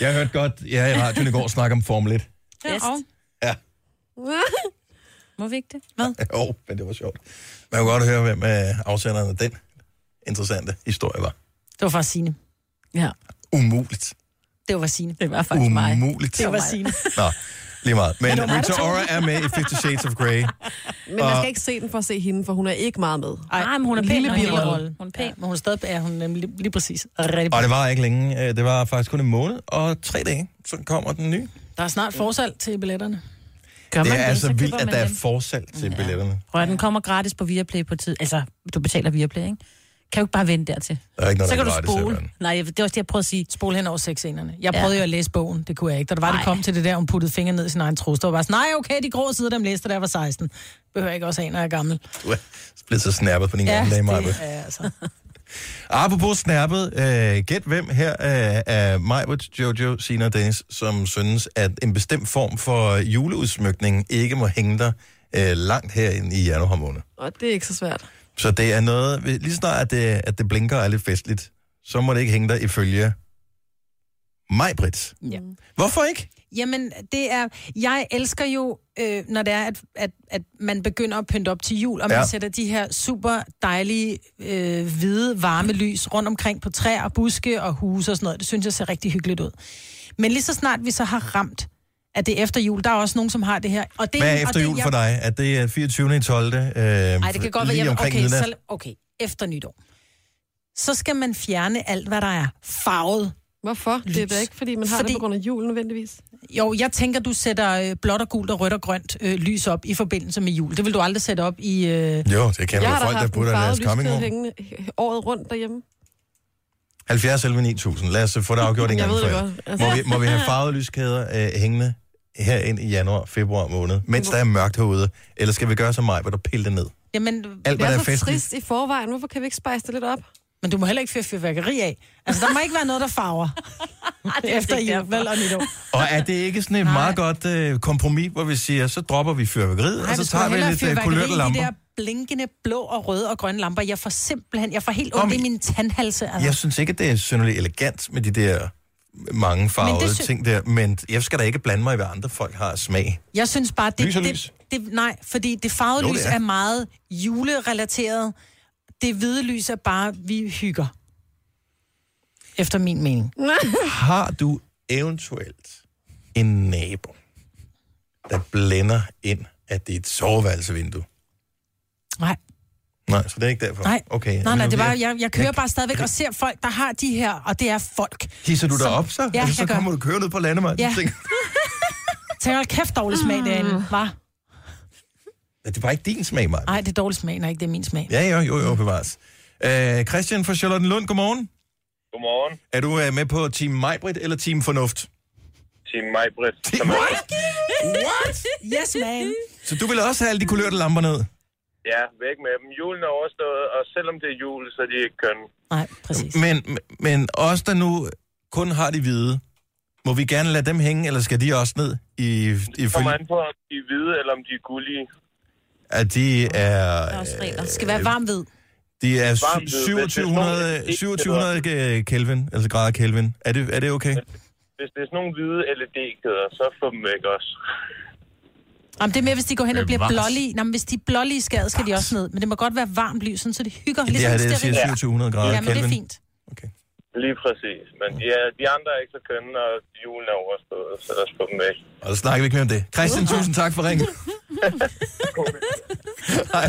A: Jeg hørte godt, ja, i radioen i går snakke om Formel 1.
D: Bedst.
C: og-
A: Ja, (laughs)
D: Må vi ikke det?
A: jo, men det var sjovt. Man kunne godt høre, hvem øh, afsenderen af den interessante historie var.
C: Det var faktisk Signe.
D: Ja,
A: Umuligt.
C: Det var Signe.
D: det var faktisk mig.
A: Umuligt.
C: Det var Signe.
A: Nå, (laughs) lige meget. Men Rita Ora er med i Fifty Shades of Grey.
B: (laughs) Men man skal ikke se den for at se hende, for hun er ikke meget med.
D: Nej, men hun er pæn.
C: Lille
D: når hun er
C: birolle.
D: lille. Hun er pæn.
C: Ja, men hun er stadig ja, hun er lige, lige præcis rigtig
A: Og det var ikke længe. Øh, Det var faktisk kun en måned og tre dage, så kommer den nye.
C: Der er snart forsalg til billetterne.
D: Gør
A: Det
D: man
A: er altså
D: så
A: vildt,
D: køber
A: at
D: man
A: der er
D: dem.
A: forsalg til billetterne.
D: Prøv at den kommer gratis på Viaplay på tid. Altså, du betaler Viaplay, ikke? Kan jo ikke bare vente dertil.
A: Der er ikke noget,
D: så
A: der
D: kan
A: er
D: du
A: gratis,
D: spole.
A: simpelthen.
D: Nej, jeg- det er også det, jeg prøver at sige.
C: Spol hen over seksenerne. Jeg prøvede jo at læse bogen, det kunne jeg ikke. Da det var, det
D: Ej.
C: kom til det der, hun puttede fingeren ned i sin egen trus. Der var bare sådan, nej, okay, de grå sider, dem læste, da jeg var 16. Behøver jeg ikke også af, når jeg er gammel.
A: Du er blevet så snappet på din gamle dag, Maja.
C: det er altså.
A: Apropos snappet, øh, gæt hvem her øh, er Majbert, Jojo, Sina og Dennis, som synes, at en bestemt form for juleudsmykning ikke må hænge dig øh, langt herinde i januar måned.
B: Og det er ikke så svært.
A: Så det er noget, lige så snart at det, at det blinker og er lidt festligt, så må det ikke hænge dig ifølge mig, Britt.
C: Ja.
A: Hvorfor ikke?
C: Jamen, det er... Jeg elsker jo, øh, når det er, at, at, at man begynder at pynte op til jul, og man
A: Ja.
C: ja. sætter de her super dejlige, øh, hvide, varme lys rundt omkring på træer, og buske og huse og sådan noget. Det synes jeg ser rigtig hyggeligt ud. Men lige så snart vi så har ramt, at det er efter jul, der er også nogen, som har det her. Og det,
A: Hvad er
C: og
A: efter
C: det,
A: jul
C: jeg-
A: for dig? At det er 24. i 12. Øh,
C: Nej, det kan godt være,
A: lige
C: jeg...
A: omkring
C: Okay,
A: midnat.
C: så, okay, efter nytår. Så skal man fjerne alt, hvad der er farvet.
B: Hvorfor? Det er da
C: Lys.
B: ikke, fordi man har fordi...
C: Fordi-
B: det på grund af julen nødvendigvis.
C: Jo, jeg tænker, du sætter øh, blåt og gult og rødt og grønt øh, lys op i forbindelse med jul. Det vil du aldrig sætte op i... Øh...
A: Jo, det kender
B: jeg
A: du
B: har da
A: folk, der
B: haft en
A: putter i
B: farvet
A: deres coming
B: lyskæde
A: home.
B: hængende øh, året rundt derhjemme.
A: 70 11 9000. Lad os øh, få det afgjort en
B: (laughs) Jeg
A: gang
B: ved
A: for
B: det
A: alle.
B: godt. Altså.
A: Må vi, må vi have farvede lyskæder øh, hængende her ind i januar, februar måned, mens der er mørkt herude? Eller skal vi gøre som mig, hvor du piller det ned?
C: Jamen,
A: Alt,
B: Det
A: hvad der
B: er
A: er
B: så
A: festligt.
B: trist i forvejen. Hvorfor kan vi ikke spejse det lidt op?
C: men du må heller ikke fyre fyrværkeri af. Altså, der må ikke være noget, der
A: (laughs)
C: farver efter jul, vel og nytår.
A: Og er det ikke sådan et meget godt øh, kompromis, hvor vi siger, så dropper vi fyrværkeriet,
C: Nej,
A: og så tager vi lidt øh, kulørte
C: de
A: lamper?
C: der blinkende blå og røde og grønne lamper. Jeg får simpelthen, jeg får helt
A: Nå,
C: ondt i
A: men-
C: min tandhalse. Altså.
A: Jeg synes ikke, at det er synderligt elegant med de der mange farvede
C: sy-
A: ting der, men jeg skal da ikke blande mig i, hvad andre folk har af smag.
C: Jeg synes bare, det,
A: Lys er
C: det,
A: lys.
C: det, nej, fordi det farvede
A: Jo, det
C: lys
A: er.
C: er. er meget julerelateret. Det hvide lys er bare, vi hygger. Efter min mening.
A: Har du eventuelt en nabo, der blænder ind af dit soveværelsevindue?
C: Nej,
A: Nej, så det er ikke derfor?
C: nej.
A: Okay.
C: nej, nej det var,
A: var...
C: jeg, jeg kører bare stadigvæk og ser folk, der har de her, og det er folk.
A: Hisser du dig
C: Som-
A: op så?
C: Ja,
A: altså, så
C: jeg gør.
A: kommer du kørende ud på landevejen.
C: Ja.
A: Ja. Tænker,
C: Tænk, hold kæft, dårlig smag derinde,
D: Ah.
C: hva'?
A: "Ja, det var ikke din smag, Maja.
C: Nej, det er dårlig smag, nej, det er min smag.
A: Ja, jo, jo, jo, bevares. Øh, Christian fra Charlotten Lund, godmorgen.
I: Godmorgen.
A: Er du øh, med på Team Majbrit eller Team Fornuft?
I: Team Majbrit.
A: Team Majbrit? What?
C: Yes, man.
A: Så du vil også have alle de kulørte lamper ned?
I: Ja, væk med dem. Julen er overstået, og selvom det er jul, så er de ikke kønne.
C: Nej, præcis.
A: Men, men os, der nu kun har de hvide, må vi gerne lade dem hænge, eller skal de også ned i, i
I: Kommer
A: følge,
I: an på, om de er hvide, eller om de er gullige.
A: at de er,
D: Der er også regler.
C: Det skal være varm ved.
A: de er
I: Varmt ved,
A: sy-
I: hvis det er sådan nogle-
A: 2700, 2700 Kelvin, altså grader Kelvin. Er det, er det okay?
I: Hvis det er sådan nogle hvide LED-kæder, så få dem væk også.
C: Jamen, det er mere, hvis de går hen og bliver
A: Bevares.
C: blålige. Nå, men hvis de er blålige skade, skal de også ned. Men det må godt være varmt lys, sådan, så det hygger.
A: Det her, det jeg
C: stearin.
A: siger 2700 grader
C: Ja, men
A: Kelvin.
C: det er fint.
A: Okay.
I: Lige præcis. Men de, er, de andre er ikke så kønne, og julen er overstået, så lad os få dem væk.
A: Og så snakker vi ikke mere om det. Christian, tusind tak for ringen. Hej.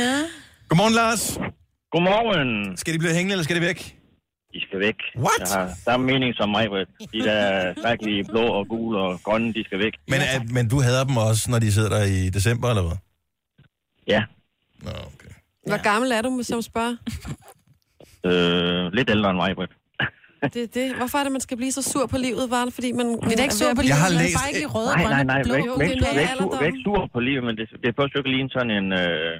C: Ja.
A: Godmorgen, Lars.
J: Godmorgen.
A: Skal de blive hængende, eller skal de væk?
J: I skal væk.
A: What?
J: Jeg har samme mening som mig, Britt. De der skrækkelige blå og gule og grønne, de skal væk.
A: Men, ja, men du hader dem også, når de sidder der i december, eller hvad?
J: Ja.
A: Nå, okay.
B: Hvor gammel er du, som spørger?
J: Øh, lidt ældre end mig, Britt.
B: Det er det. Hvorfor er det, man skal blive så sur på livet, bare fordi man...
C: Vi er da ikke sur på livet.
A: har
C: vi er
A: læst-
C: Bare ikke lige røde,
J: Nej, nej,
C: grønne,
J: nej.
C: blå.
J: Væk,
B: jo,
J: væk,
B: det er
J: væk,
B: noget af
J: væk, væk
B: alderdommen.
J: sur på livet, men det, det er på et stykke lige sådan en... Øh,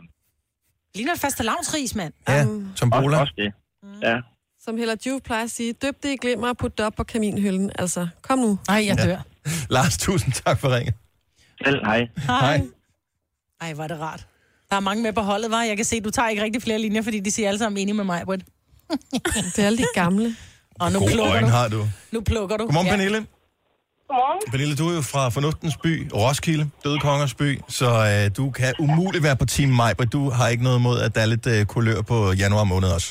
C: Ligner et faste lavnsris, mand.
A: Ja,
B: Um,
A: som
J: også,
A: bola.
J: også det.
C: Mm.
J: Ja.
B: Som Hella Juve plejer at sige, døb det i glimmer og put det op på kaminhylden. Altså, kom nu.
C: Nej, jeg dør.
A: Lars, tusind tak for ringen.
J: Selv hej.
A: Hej.
C: Ej, hvor er det rart. Der er mange med på holdet, var. Jeg kan se, du tager ikke rigtig flere linjer, fordi de siger alle sammen enige med mig, Britt.
B: Det er alle de gamle.
C: Og nu
A: Gode
C: plukker
A: øjne
C: du.
A: har du.
C: Nu plukker du.
A: Godmorgen, Pernille.
G: Godmorgen.
A: Pernille, du er jo fra Fornuftens by, Roskilde, Døde Kongers by, så øh, du kan umuligt være på Team Maj, men du har ikke noget imod, at der er lidt øh, kulør på januar måned også.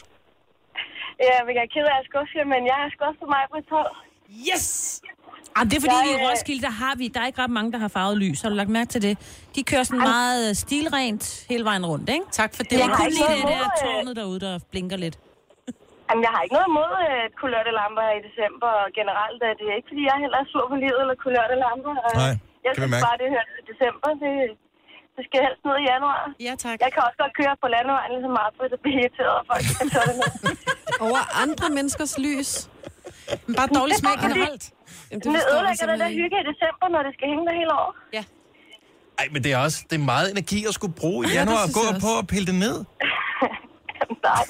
G: Jeg vil være ked af at skuffe jer, men jeg er skuffet mig på 12.
C: Yes!
D: Ah, det er fordi, vi i
G: Jeg, øh,
D: Roskilde, der har vi, der er ikke ret mange, der har farvet lys. Har du lagt mærke til det? De kører sådan meget øh, stilrent hele vejen rundt, ikke?
C: Tak for det.
D: Det er
G: har
D: kun
G: ikke
D: lige
G: noget
D: det der
G: imod, øh,
D: tårnet derude, der blinker lidt.
G: Jamen, jeg har ikke noget imod øh, kulørte lamper her i december, og generelt er det ikke, fordi jeg heller er sur på livet eller kulørte lamper. Øh,
A: Nej,
G: jeg
A: kan vi
G: synes
A: mærke.
G: bare, det hører til december. Det, det skal helst ned i januar.
C: Ja, tak.
G: Jeg kan også godt køre på landevejen, ligesom Marfred, og blive irriteret af folk. der tør det ned.
B: Over andre menneskers lys.
C: Men bare dårlig
D: (laughs)
C: smag generelt.
B: Jamen,
G: Men det
B: forstår jeg
G: ødelægger den der
B: simpelthen ikke.
G: hygge i december, når det skal hænge der hele året.
A: Ej, men det er også det er meget energi at skulle bruge i januar.
B: synes
A: Gå
B: jeg også.
A: på og pille det ned.
G: Jamen, (laughs) nej.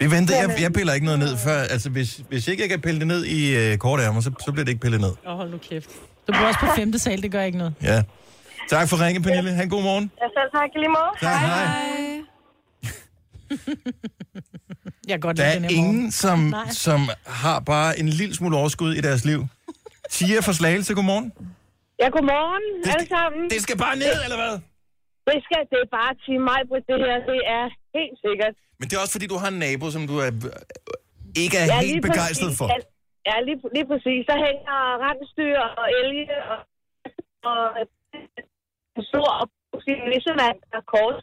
A: Vi venter. Jeg, jeg piller ikke noget ned før. Altså, hvis, hvis ikke jeg kan pille det ned i øh, korte ærmer, så, så bliver det ikke pillet ned.
C: Åh, hold nu kæft. Du bor også på femte sal, det gør ikke noget.
A: Ja. Tak for ringen, Pernille. Ha' en god morgen.
G: Ja, selv tak. I lige måde.
A: Tak, hej.
C: Jeg kan godt
A: Der
C: lide den
A: er
C: her
A: ingen,
C: morgen.
A: som,
C: Nej.
A: som har bare en lille smule overskud i deres liv. Tia fra Slagelse, godmorgen.
K: Ja, godmorgen det, alle sammen.
A: det skal bare ned, eller hvad?
K: Det skal, det er bare til mig, Britt, det her, det er helt sikkert.
A: Men det er også, fordi du har en nabo, som du er, øh, ikke er ja, helt begejstret
K: præcis,
A: for.
K: Ja, ja lige, lige præcis. Så hænger rensdyr og elge og, og en stor og sin nissemand og kors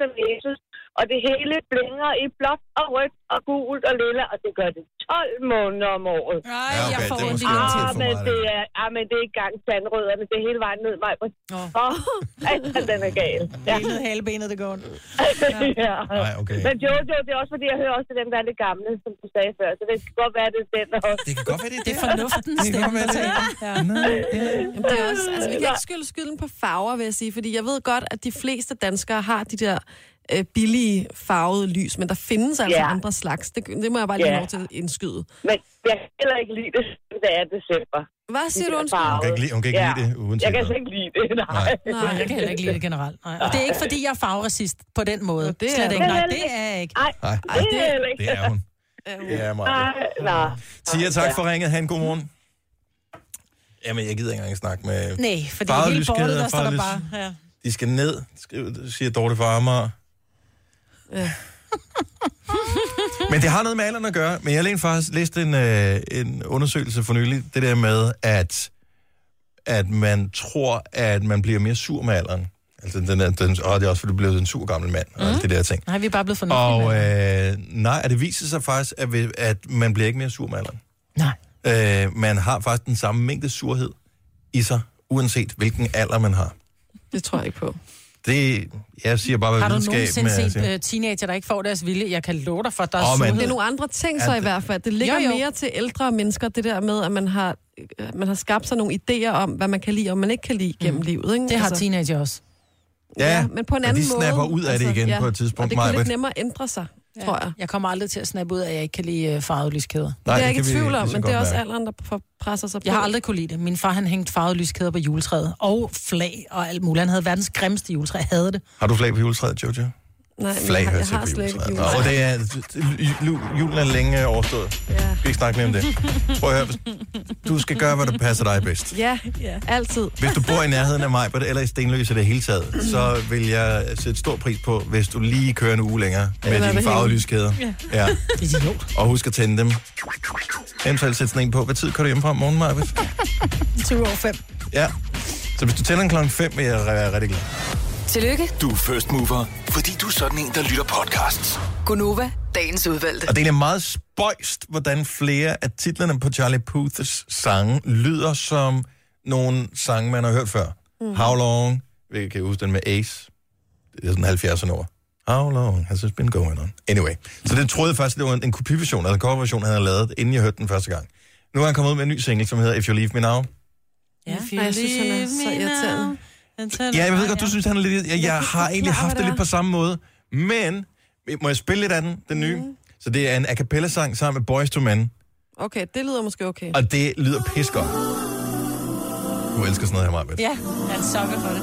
K: som Jesus, og det hele blinger i blåt og rødt og gult og lilla, og det gør det 12 måneder om året.
D: Nej,
A: Ja, okay, jeg får det er ondt i måske lidt
K: ah,
A: for
K: men
A: meget,
K: det er, ah, men det er ikke gang sandrødderne, det er hele vejen ned, mig. Oh. altså, den er gal. Ja.
C: Benet, halebenet, det går
D: (laughs)
C: ondt.
K: ja.
A: Nej, okay.
K: Men Jojo, det er også fordi, jeg hører også til dem, der er lidt gamle, som du sagde før. Så det kan godt være, det er den også.
A: Det kan godt være, det er
C: Det er fornuften,
A: Det kan godt være, det er
B: Jamen, det er også, altså, vi kan ikke skylde skylden på farver, vil jeg sige, fordi jeg ved godt, at de fleste danskere har de der øh, billige farvede lys, men der findes altså
K: Ja.
B: yeah. andre slags. Det, det må jeg bare lige
K: Ja.
B: yeah. lov til at indskyde.
K: Men jeg kan heller ikke lide det, som det er december.
B: Hvad siger du, undskyld?
A: Hun kan ikke lide- hun kan ikke lide det, uanset
K: Jeg kan
A: hvad.
K: slet ikke lide det, nej.
A: Nej.
C: Nej, jeg kan heller ikke lide det generelt. Nej. Og det er ikke, fordi jeg er fagracist på den måde. Det er Slet ikke. Nej, det er jeg ikke.
K: Nej,
A: Nej,
K: det er jeg heller ikke.
A: det er hun. Det er meget.
K: Nej, nej.
A: Tia, tak for ringet. Ha' en god morgen. Jamen, jeg gider ikke engang snakke med...
C: Nej, fordi
A: Farvelys
C: hele bordet,
A: kæder,
C: der står der
A: farvelys-
C: bare... Ja.
A: De skal ned, skriver- siger Dorte fra Amager.
B: Ja.
A: Men det har noget med alderen at gøre. Men jeg læste faktisk læste en, øh, en undersøgelse for nylig, det der med, at, at man tror, at man bliver mere sur med alderen. Altså, den, er- den, åh, det er også, fordi du bliver en sur gammel mand, og mm. det der ting.
C: Nej, vi er bare blevet fornuftige.
A: Og
C: med det.
A: øh, nej, og det viser sig faktisk, at, vi, at man bliver ikke mere sur med alderen.
C: Nej.
A: Øh, man har faktisk den samme mængde surhed i sig, uanset hvilken alder man har.
B: Det tror jeg ikke på.
A: Det, jeg siger bare, hvad
C: Har du
A: videnskab... altså. men
C: nogensinde
A: jeg
C: set
A: siger-
C: øh, teenager, der ikke får deres vilje? Jeg kan love dig for, at der er
A: Åh,
C: oh,
A: men-
B: Det er
C: surhed.
B: nogle andre ting så
A: Ja,
B: i
A: det-
B: hvert fald. Det ligger
C: Jo,
B: jo,
C: jo.
B: jo. mere til ældre mennesker, det der med, at man har, øh, man har skabt sig nogle idéer om, hvad man kan lide og man ikke kan
A: Mm.
B: lide gennem livet. Ikke? Altså,
C: Det har teenager også.
A: Ja,
B: ja, men på en
A: og
B: anden
A: de
B: måde. altså,
A: snapper ud af det igen på et tidspunkt,
B: Og det kan
A: Maj-Brit.
B: lidt nemmere ændre sig, ja. tror jeg.
C: Jeg kommer aldrig til at snappe ud af, at jeg ikke kan lide øh, farvede lyskæder.
B: Nej, det er jeg ikke
A: kan vi
B: i tvivl
A: lige
B: om,
A: så
B: men
A: godt
B: det er også
A: mærke.
B: alderen, der f- presser sig på.
C: Jeg har aldrig kunne lide det. Min far, han hængte farvede lyskæder på juletræet. Og flag og alt muligt. Han havde verdens grimmeste juletræ. Jeg havde det.
A: Har du flag på juletræet, Jojo?
B: Nej, men
A: Flag
B: jeg, har-
A: hører
B: jeg
A: til
B: har
A: på
B: slet ikke
A: juletræet.
B: jule.
A: Nå, og det er, ju- julen er længe overstået. Ja. Vi kan ikke snakke mere om det. Prøv at høre, hvis- du skal gøre, hvad der passer dig bedst.
B: Ja, ja, altid.
A: Hvis du bor i nærheden af mig, eller i Stenløse i det hele taget, så vil jeg sætte stor pris på, hvis du lige kører en uge længere med
B: Eller
A: dine
B: det
A: farvede
B: hele.
A: lyskæder. Ja.
C: Idiot.
A: Og husk at tænde dem. Eventuelt sætte sådan en på. Hvad tid kører du hjem fra om morgenen, Maja?
C: 20 år 5.
A: Ja. Så hvis du tænder den klokken 5, vil jeg være rigtig glad.
F: Tillykke,
E: Du er first mover, fordi du er sådan en, der lytter podcasts.
F: Gunova, dagens udvalgte.
A: Og det er egentlig meget spøjst, hvordan flere af titlerne på Charlie Puths sange lyder som nogle sange, man har hørt før. Mm. How Long, hvilket kan jeg huske den med Ace. Det er sådan 70'erne over. How long has it been going on? Anyway. Så det troede jeg faktisk, det var en kopiversion, eller en coverversion, han havde lavet, inden jeg hørte den første gang. Nu er han kommet ud med en ny single, som hedder If You Leave Me Now.
C: Ja.
B: Ej, jeg synes, han er så irriterende.
A: Ja, jeg ved godt, du synes, han er lidt... Jeg, jeg har egentlig
B: klare,
A: haft det
B: hvad det
A: lidt på samme måde. Men, må jeg spille lidt af den, den nye? Så det er en a cappella-sang sammen med Boys to Men.
B: Okay, det lyder måske okay.
A: Og det lyder pis godt. Du elsker sådan noget her, Marbet.
C: Ja, han sukker for det.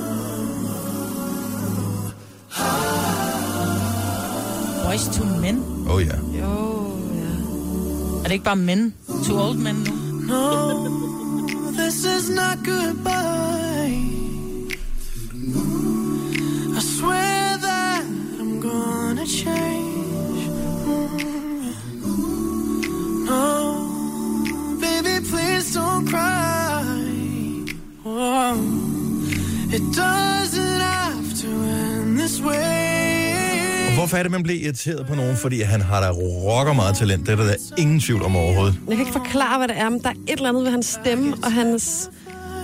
C: Boys to men.
A: Åh oh, ja.
B: Jo, ja.
C: Er det ikke bare men? To old men nu?
L: This is not goodbye. I swear that I'm gonna change. Mm. No, baby, please don't cry. Oh, it doesn't have to end this way.
A: Og hvorfor er det, man bliver irriteret på nogen? Fordi han har da rocker meget talent. Det er der da ingen tvivl om overhovedet.
B: Jeg kan ikke forklare, hvad det er, men der er et eller andet ved hans stemme og hans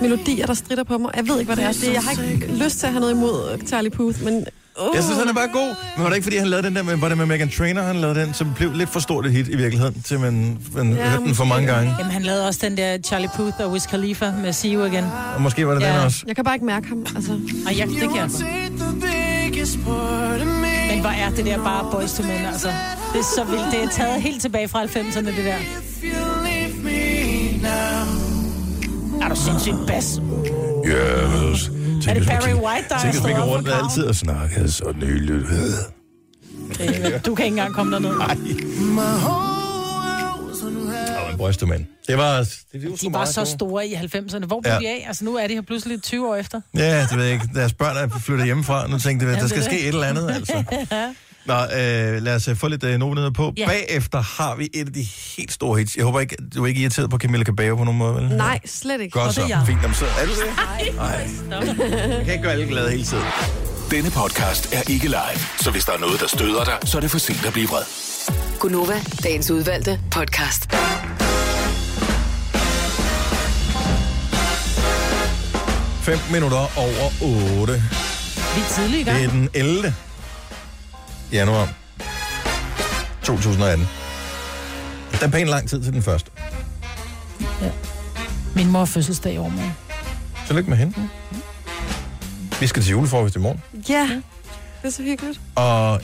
B: melodier, der strider på mig. Jeg ved ikke, hvad det er. Det, jeg har ikke lyst til at have noget imod øh, Charlie Puth, men... Uh,
A: Jeg synes, han er bare god. Men var det ikke, fordi han lavede den der med, var det med Megan Trainor, han lavede den, som blev lidt for stort et hit i virkeligheden, til man, man ja, hørte den for
B: måske.
A: mange gange.
C: Jamen, han lavede også den der Charlie Puth og Wiz Khalifa med See You Again.
A: Og måske var det ja.
C: Ja.
A: den også.
B: Jeg kan bare ikke mærke ham, altså.
C: Og jeg, det kan jeg godt.
L: Take the biggest part of me.
C: Men hvor er det der bare boys to men, altså. Det er så vildt. Det er taget helt tilbage fra 90'erne, det der.
L: If you leave me now.
C: Er du sindssygt bas?
A: Yes, Tænk,
C: det
A: hvis man
C: Barry
A: gik-
C: White, der er
A: Tænk, hvis man
C: stået
A: gik
C: op
A: rundt
C: for
A: og altid og snakkede så nyligt.
C: Du kan ikke engang komme derned.
A: Nej. Og en brystemænd. Det var... Det, det var sgu
C: De var
A: meget
C: så
A: gode.
C: store i 90'erne. Hvor blev
A: Ja.
C: de af? Altså, nu er de her pludselig 20 år efter.
A: Ja, det ved jeg ikke. Deres børn er flyttet hjemmefra. Nu tænkte jeg,
C: Ja,
A: der
C: det
A: skal
C: er
A: ske
C: det.
A: et eller
C: (laughs)
A: andet, altså. Nå, øh, lad os øh, få lidt øh, nogenheder på.
B: Ja.
A: Yeah. Bagefter har vi et af de helt store hits. Jeg håber ikke, du er ikke irriteret på Camilla Cabello på nogen måde, vel?
B: Nej, slet ikke.
A: Godt
B: Og det
A: så.
B: er jeg.
A: Fint, jamen, så er du det. Jeg kan ikke gøre alle glade hele tiden.
E: Denne podcast er ikke live, så hvis der er noget, der støder dig, så er det for sent at blive vred.
F: Gunova, dagens udvalgte podcast.
A: Fem minutter over otte.
C: Vi er tidlig i
A: Det er
C: gang.
A: den 11. januar 2018. Der er pænt lang tid til den første.
C: Min mor har fødselsdag i overmorgen.
A: Tillykke med hende.
C: Mhm.
A: Vi skal til julefrokost i morgen,
B: Ja, det er så hyggeligt.
A: og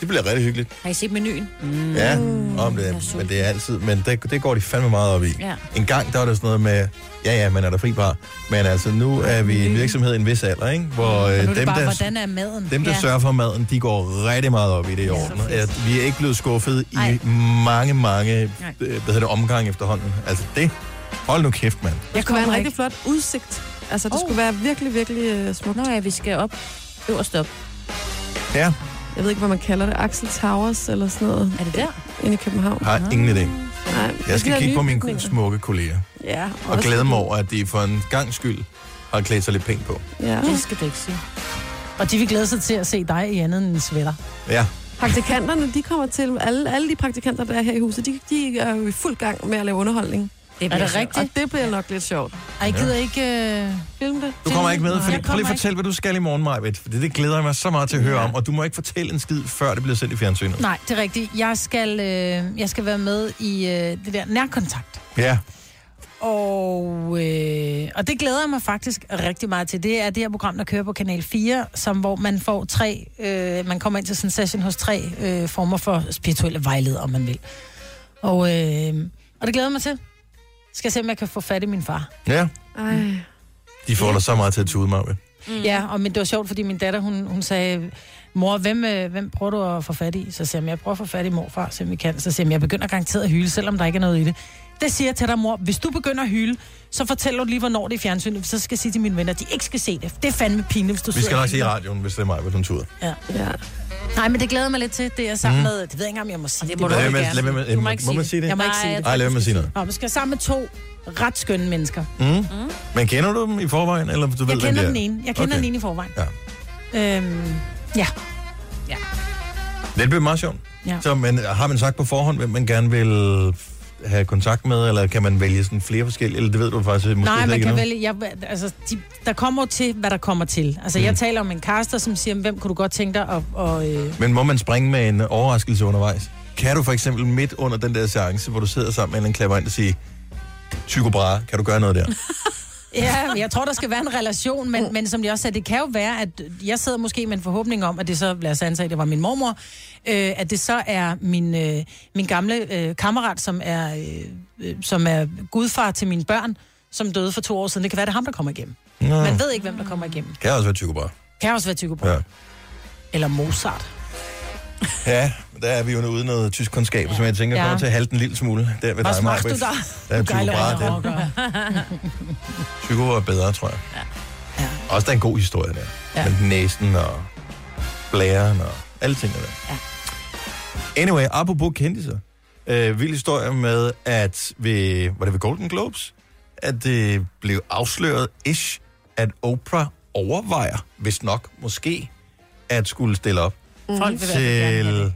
A: det bliver rigtig hyggeligt.
D: Har I set menuen?
A: Mm. Ja, om det, men det er altid, men det, det går de fandme meget op i.
D: Ja.
A: En gang, der var der sådan noget med, ja ja, man er der fri bar, men altså nu er vi en virksomhed i en vis alder, ikke? Hvor
C: Mm. Og
A: øh,
C: nu er
A: dem,
C: det bare,
A: der,
C: hvordan er maden?
A: dem, der
C: Ja.
A: sørger for maden, de går rigtig meget op i det i år. Ja, vi er ikke blevet skuffet i mange, mange øh,
B: Nej.
A: hvad hedder det, omgang efterhånden. Altså det, hold nu kæft, mand.
B: Jeg kunne være en rigtig flot udsigt. Altså, det oh. skulle være virkelig, virkelig uh, smukt. Nå
D: ja, vi skal op. Øverst op.
A: Ja,
B: Jeg ved ikke, hvad man kalder det. Axel Towers eller sådan noget.
D: Er det der?
B: Inde i København.
A: har ingen idé.
B: Nej, det er
A: Jeg
B: de der
A: skal kigge
B: nye
A: på mine
B: bygninger.
A: smukke kolleger
B: Ja,
A: og glæde mig over, at de for en gang skyld har klædt sig lidt pænt på.
B: Ja.
C: Det skal du ikke sige. Og de vil glæde sig til at se dig i andet end en sweater.
A: Ja.
B: Praktikanterne, de kommer til, alle, alle de praktikanter, der er her i huset, de, de er jo i fuld gang med at lave underholdning.
C: Det Er det sjovt. rigtigt?
B: Og det bliver nok lidt sjovt.
C: Ej, jeg gider ikke... Øh...
B: Film det.
A: Du kommer ikke med,
B: Nej.
A: fordi
B: Jeg
A: prøv lige
B: kommer
A: at fortælle, hvad du skal i morgen, Majbet. For det, det glæder jeg mig så meget til at høre om, og du må ikke fortælle en skid, før det bliver sendt i fjernsynet.
C: Nej, det er rigtigt. Jeg skal, øh, jeg skal være med i øh, det der nærkontakt.
A: Ja.
C: Og, øh, og det glæder jeg mig faktisk rigtig meget til. Det er det her program, der kører på Kanal 4, som, hvor man får tre, øh, man kommer ind til sådan en session hos tre øh, former for spirituelle vejledere, om man vil. Og, øh, og det glæder jeg mig til. Skal se, om jeg kan få fat i min far.
A: Ja,
B: Ej.
A: de får dig så meget til at tude, Majbet.
C: Mm. Ja, og men det var sjovt, fordi min datter, hun, hun sagde, mor, hvem, øh, hvem prøver du at få fat i? Så siger jeg, jeg prøver at få fat i morfar, så vi kan. Så siger jeg, jeg begynder garanteret at hyle, selvom der ikke er noget i det. Det siger jeg til dig, mor. Hvis du begynder at hyle, så fortæller du lige, hvornår det er i fjernsynet. Så skal jeg sige til mine venner, at de ikke skal se det. Det er fandme pinligt, hvis du
A: Vi skal
C: sidder og
A: nok se i
C: hyler.
A: radioen, hvis det er Majbet, hun tuder.
C: Ja.
B: ja.
C: Nej, men det glæder jeg mig lidt til. Det er jeg sammen
A: Mm.
C: med... Det ved jeg ikke, om jeg må sige det.
A: må du Lad ikke være med- gerne. lad være med- Du må må- ikke må sige man det. sige det?
C: Jeg må ikke
A: Nej,
C: sige
A: jeg
C: det.
A: tror, Ej, lad være med at sige noget.
C: Nå, vi skal sammen med to ret skønne mennesker.
A: Mm. Mm. Men kender du dem i forvejen, eller du ved,
C: Jeg kender
A: hvem
C: den
A: det er?
C: ene. Jeg kender den ene i forvejen. Ja. Øhm, ja. ja.
A: Det bliver meget sjovt.
C: Ja.
A: Så men, har man sagt på forhånd, hvem man gerne vil have kontakt med, eller kan man vælge sådan flere forskellige, eller det ved du faktisk måske
C: Nej,
A: ikke
C: man kan
A: endnu.
C: vælge... Jeg, altså, de, der kommer jo til, hvad der kommer til. Altså, mm. jeg taler om en caster, som siger, hvem kunne du godt tænke dig at... Og, øh, (laughs)
A: Men må man springe med en overraskelse undervejs? Kan du for eksempel midt under den der seance, hvor du sidder sammen med en eller anden klapper ind og siger, Tycho Brahe, kan du gøre
C: (laughs)
A: noget der?
C: ja, men jeg tror, der skal være en relation,
A: Mm.
C: men, men som jeg også sagde, det kan jo være, at jeg sidder måske med en forhåbning om, at det så, lad os antage, det var min mormor, øh, at det så er min, øh, min gamle øh, kammerat, som er, øh, øh, som er gudfar til mine børn, som døde for to år siden. Det kan være, det er ham, der kommer igennem.
A: Nå.
C: Man ved ikke, hvem der kommer igennem.
A: Kan også være Tycho Brahe.
C: Kan også være Tycho Brahe.
A: Mm. Ja.
C: Eller Mozart.
A: Ja, der er vi jo ude i noget tysk kundskab, ja. som jeg tænker
C: Ja.
A: kommer til at halte en lille smule. Der ved
C: Hvad
A: dig,
C: smagte du
A: Maj-Brit.
C: der?
A: Der er
C: Du
A: Tycho
C: gejler
A: Brahe.
C: rigtig
A: Den. Tycho var bedre, tror jeg. Ja. Også der er en god historie der.
C: Ja.
A: Ja. Med næsen og blæren og alle tingene der. Ja. Anyway, apropos kendte sig. Øh, vild historie med, at ved, var det ved Golden Globes, at det blev afsløret ish, at Oprah overvejer, hvis nok måske, at skulle stille op
C: Folk vil i hvert fald gerne have
A: til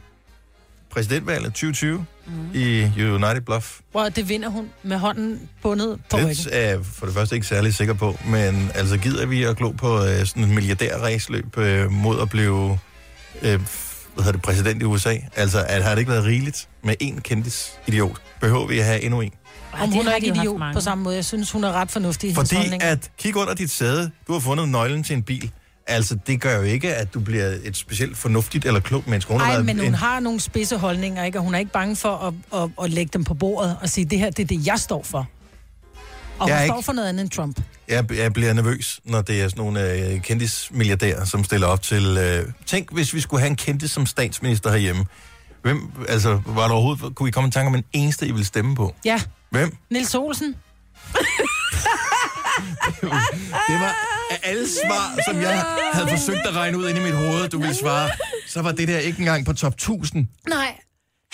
A: præsidentvalget 2020 mm. i United Bluff.
C: Prøv at det vinder hun med hånden bundet på
A: Det
C: ryggen.
A: er jeg for det første ikke særlig sikker på, men altså gider vi at glo på øh, sådan en milliardærræsløb øh, mod at blive øh, hvad hedder det, præsident i USA? Altså, at har det ikke været rigeligt med én kendis idiot? Behøver vi at have endnu en?
C: Om hun er ikke idiot på samme måde. Jeg synes, hun er ret fornuftig i hendes
A: Fordi
C: holdninger.
A: at kigge under dit sæde, du har fundet nøglen til en bil. Altså, det gør jo ikke, at du bliver et specielt fornuftigt eller klogt menneske. Hun har
C: Nej,
A: været
C: men
A: en-
C: hun har nogle spidse holdninger, ikke? og hun er ikke bange for at, at, at lægge dem på bordet og sige, det her det er det, jeg står for. Og
A: Jeg
C: hun
A: er
C: står
A: ikke-
C: for noget andet end Trump.
A: Jeg, jeg bliver nervøs, når det er sådan nogle øh, kendismilliardærer, som stiller op til... Øh, tænk, hvis vi skulle have en kendis som statsminister herhjemme. Hvem, altså, var der overhovedet... Kunne I komme i tanke om en eneste, I ville stemme på?
C: Ja,
A: Hvem?
C: Nils Olsen.
A: Det var af alle svar, som jeg havde forsøgt at regne ud inde i mit hoved, du ville svare. Så var det der ikke engang på top 1000.
C: Nej,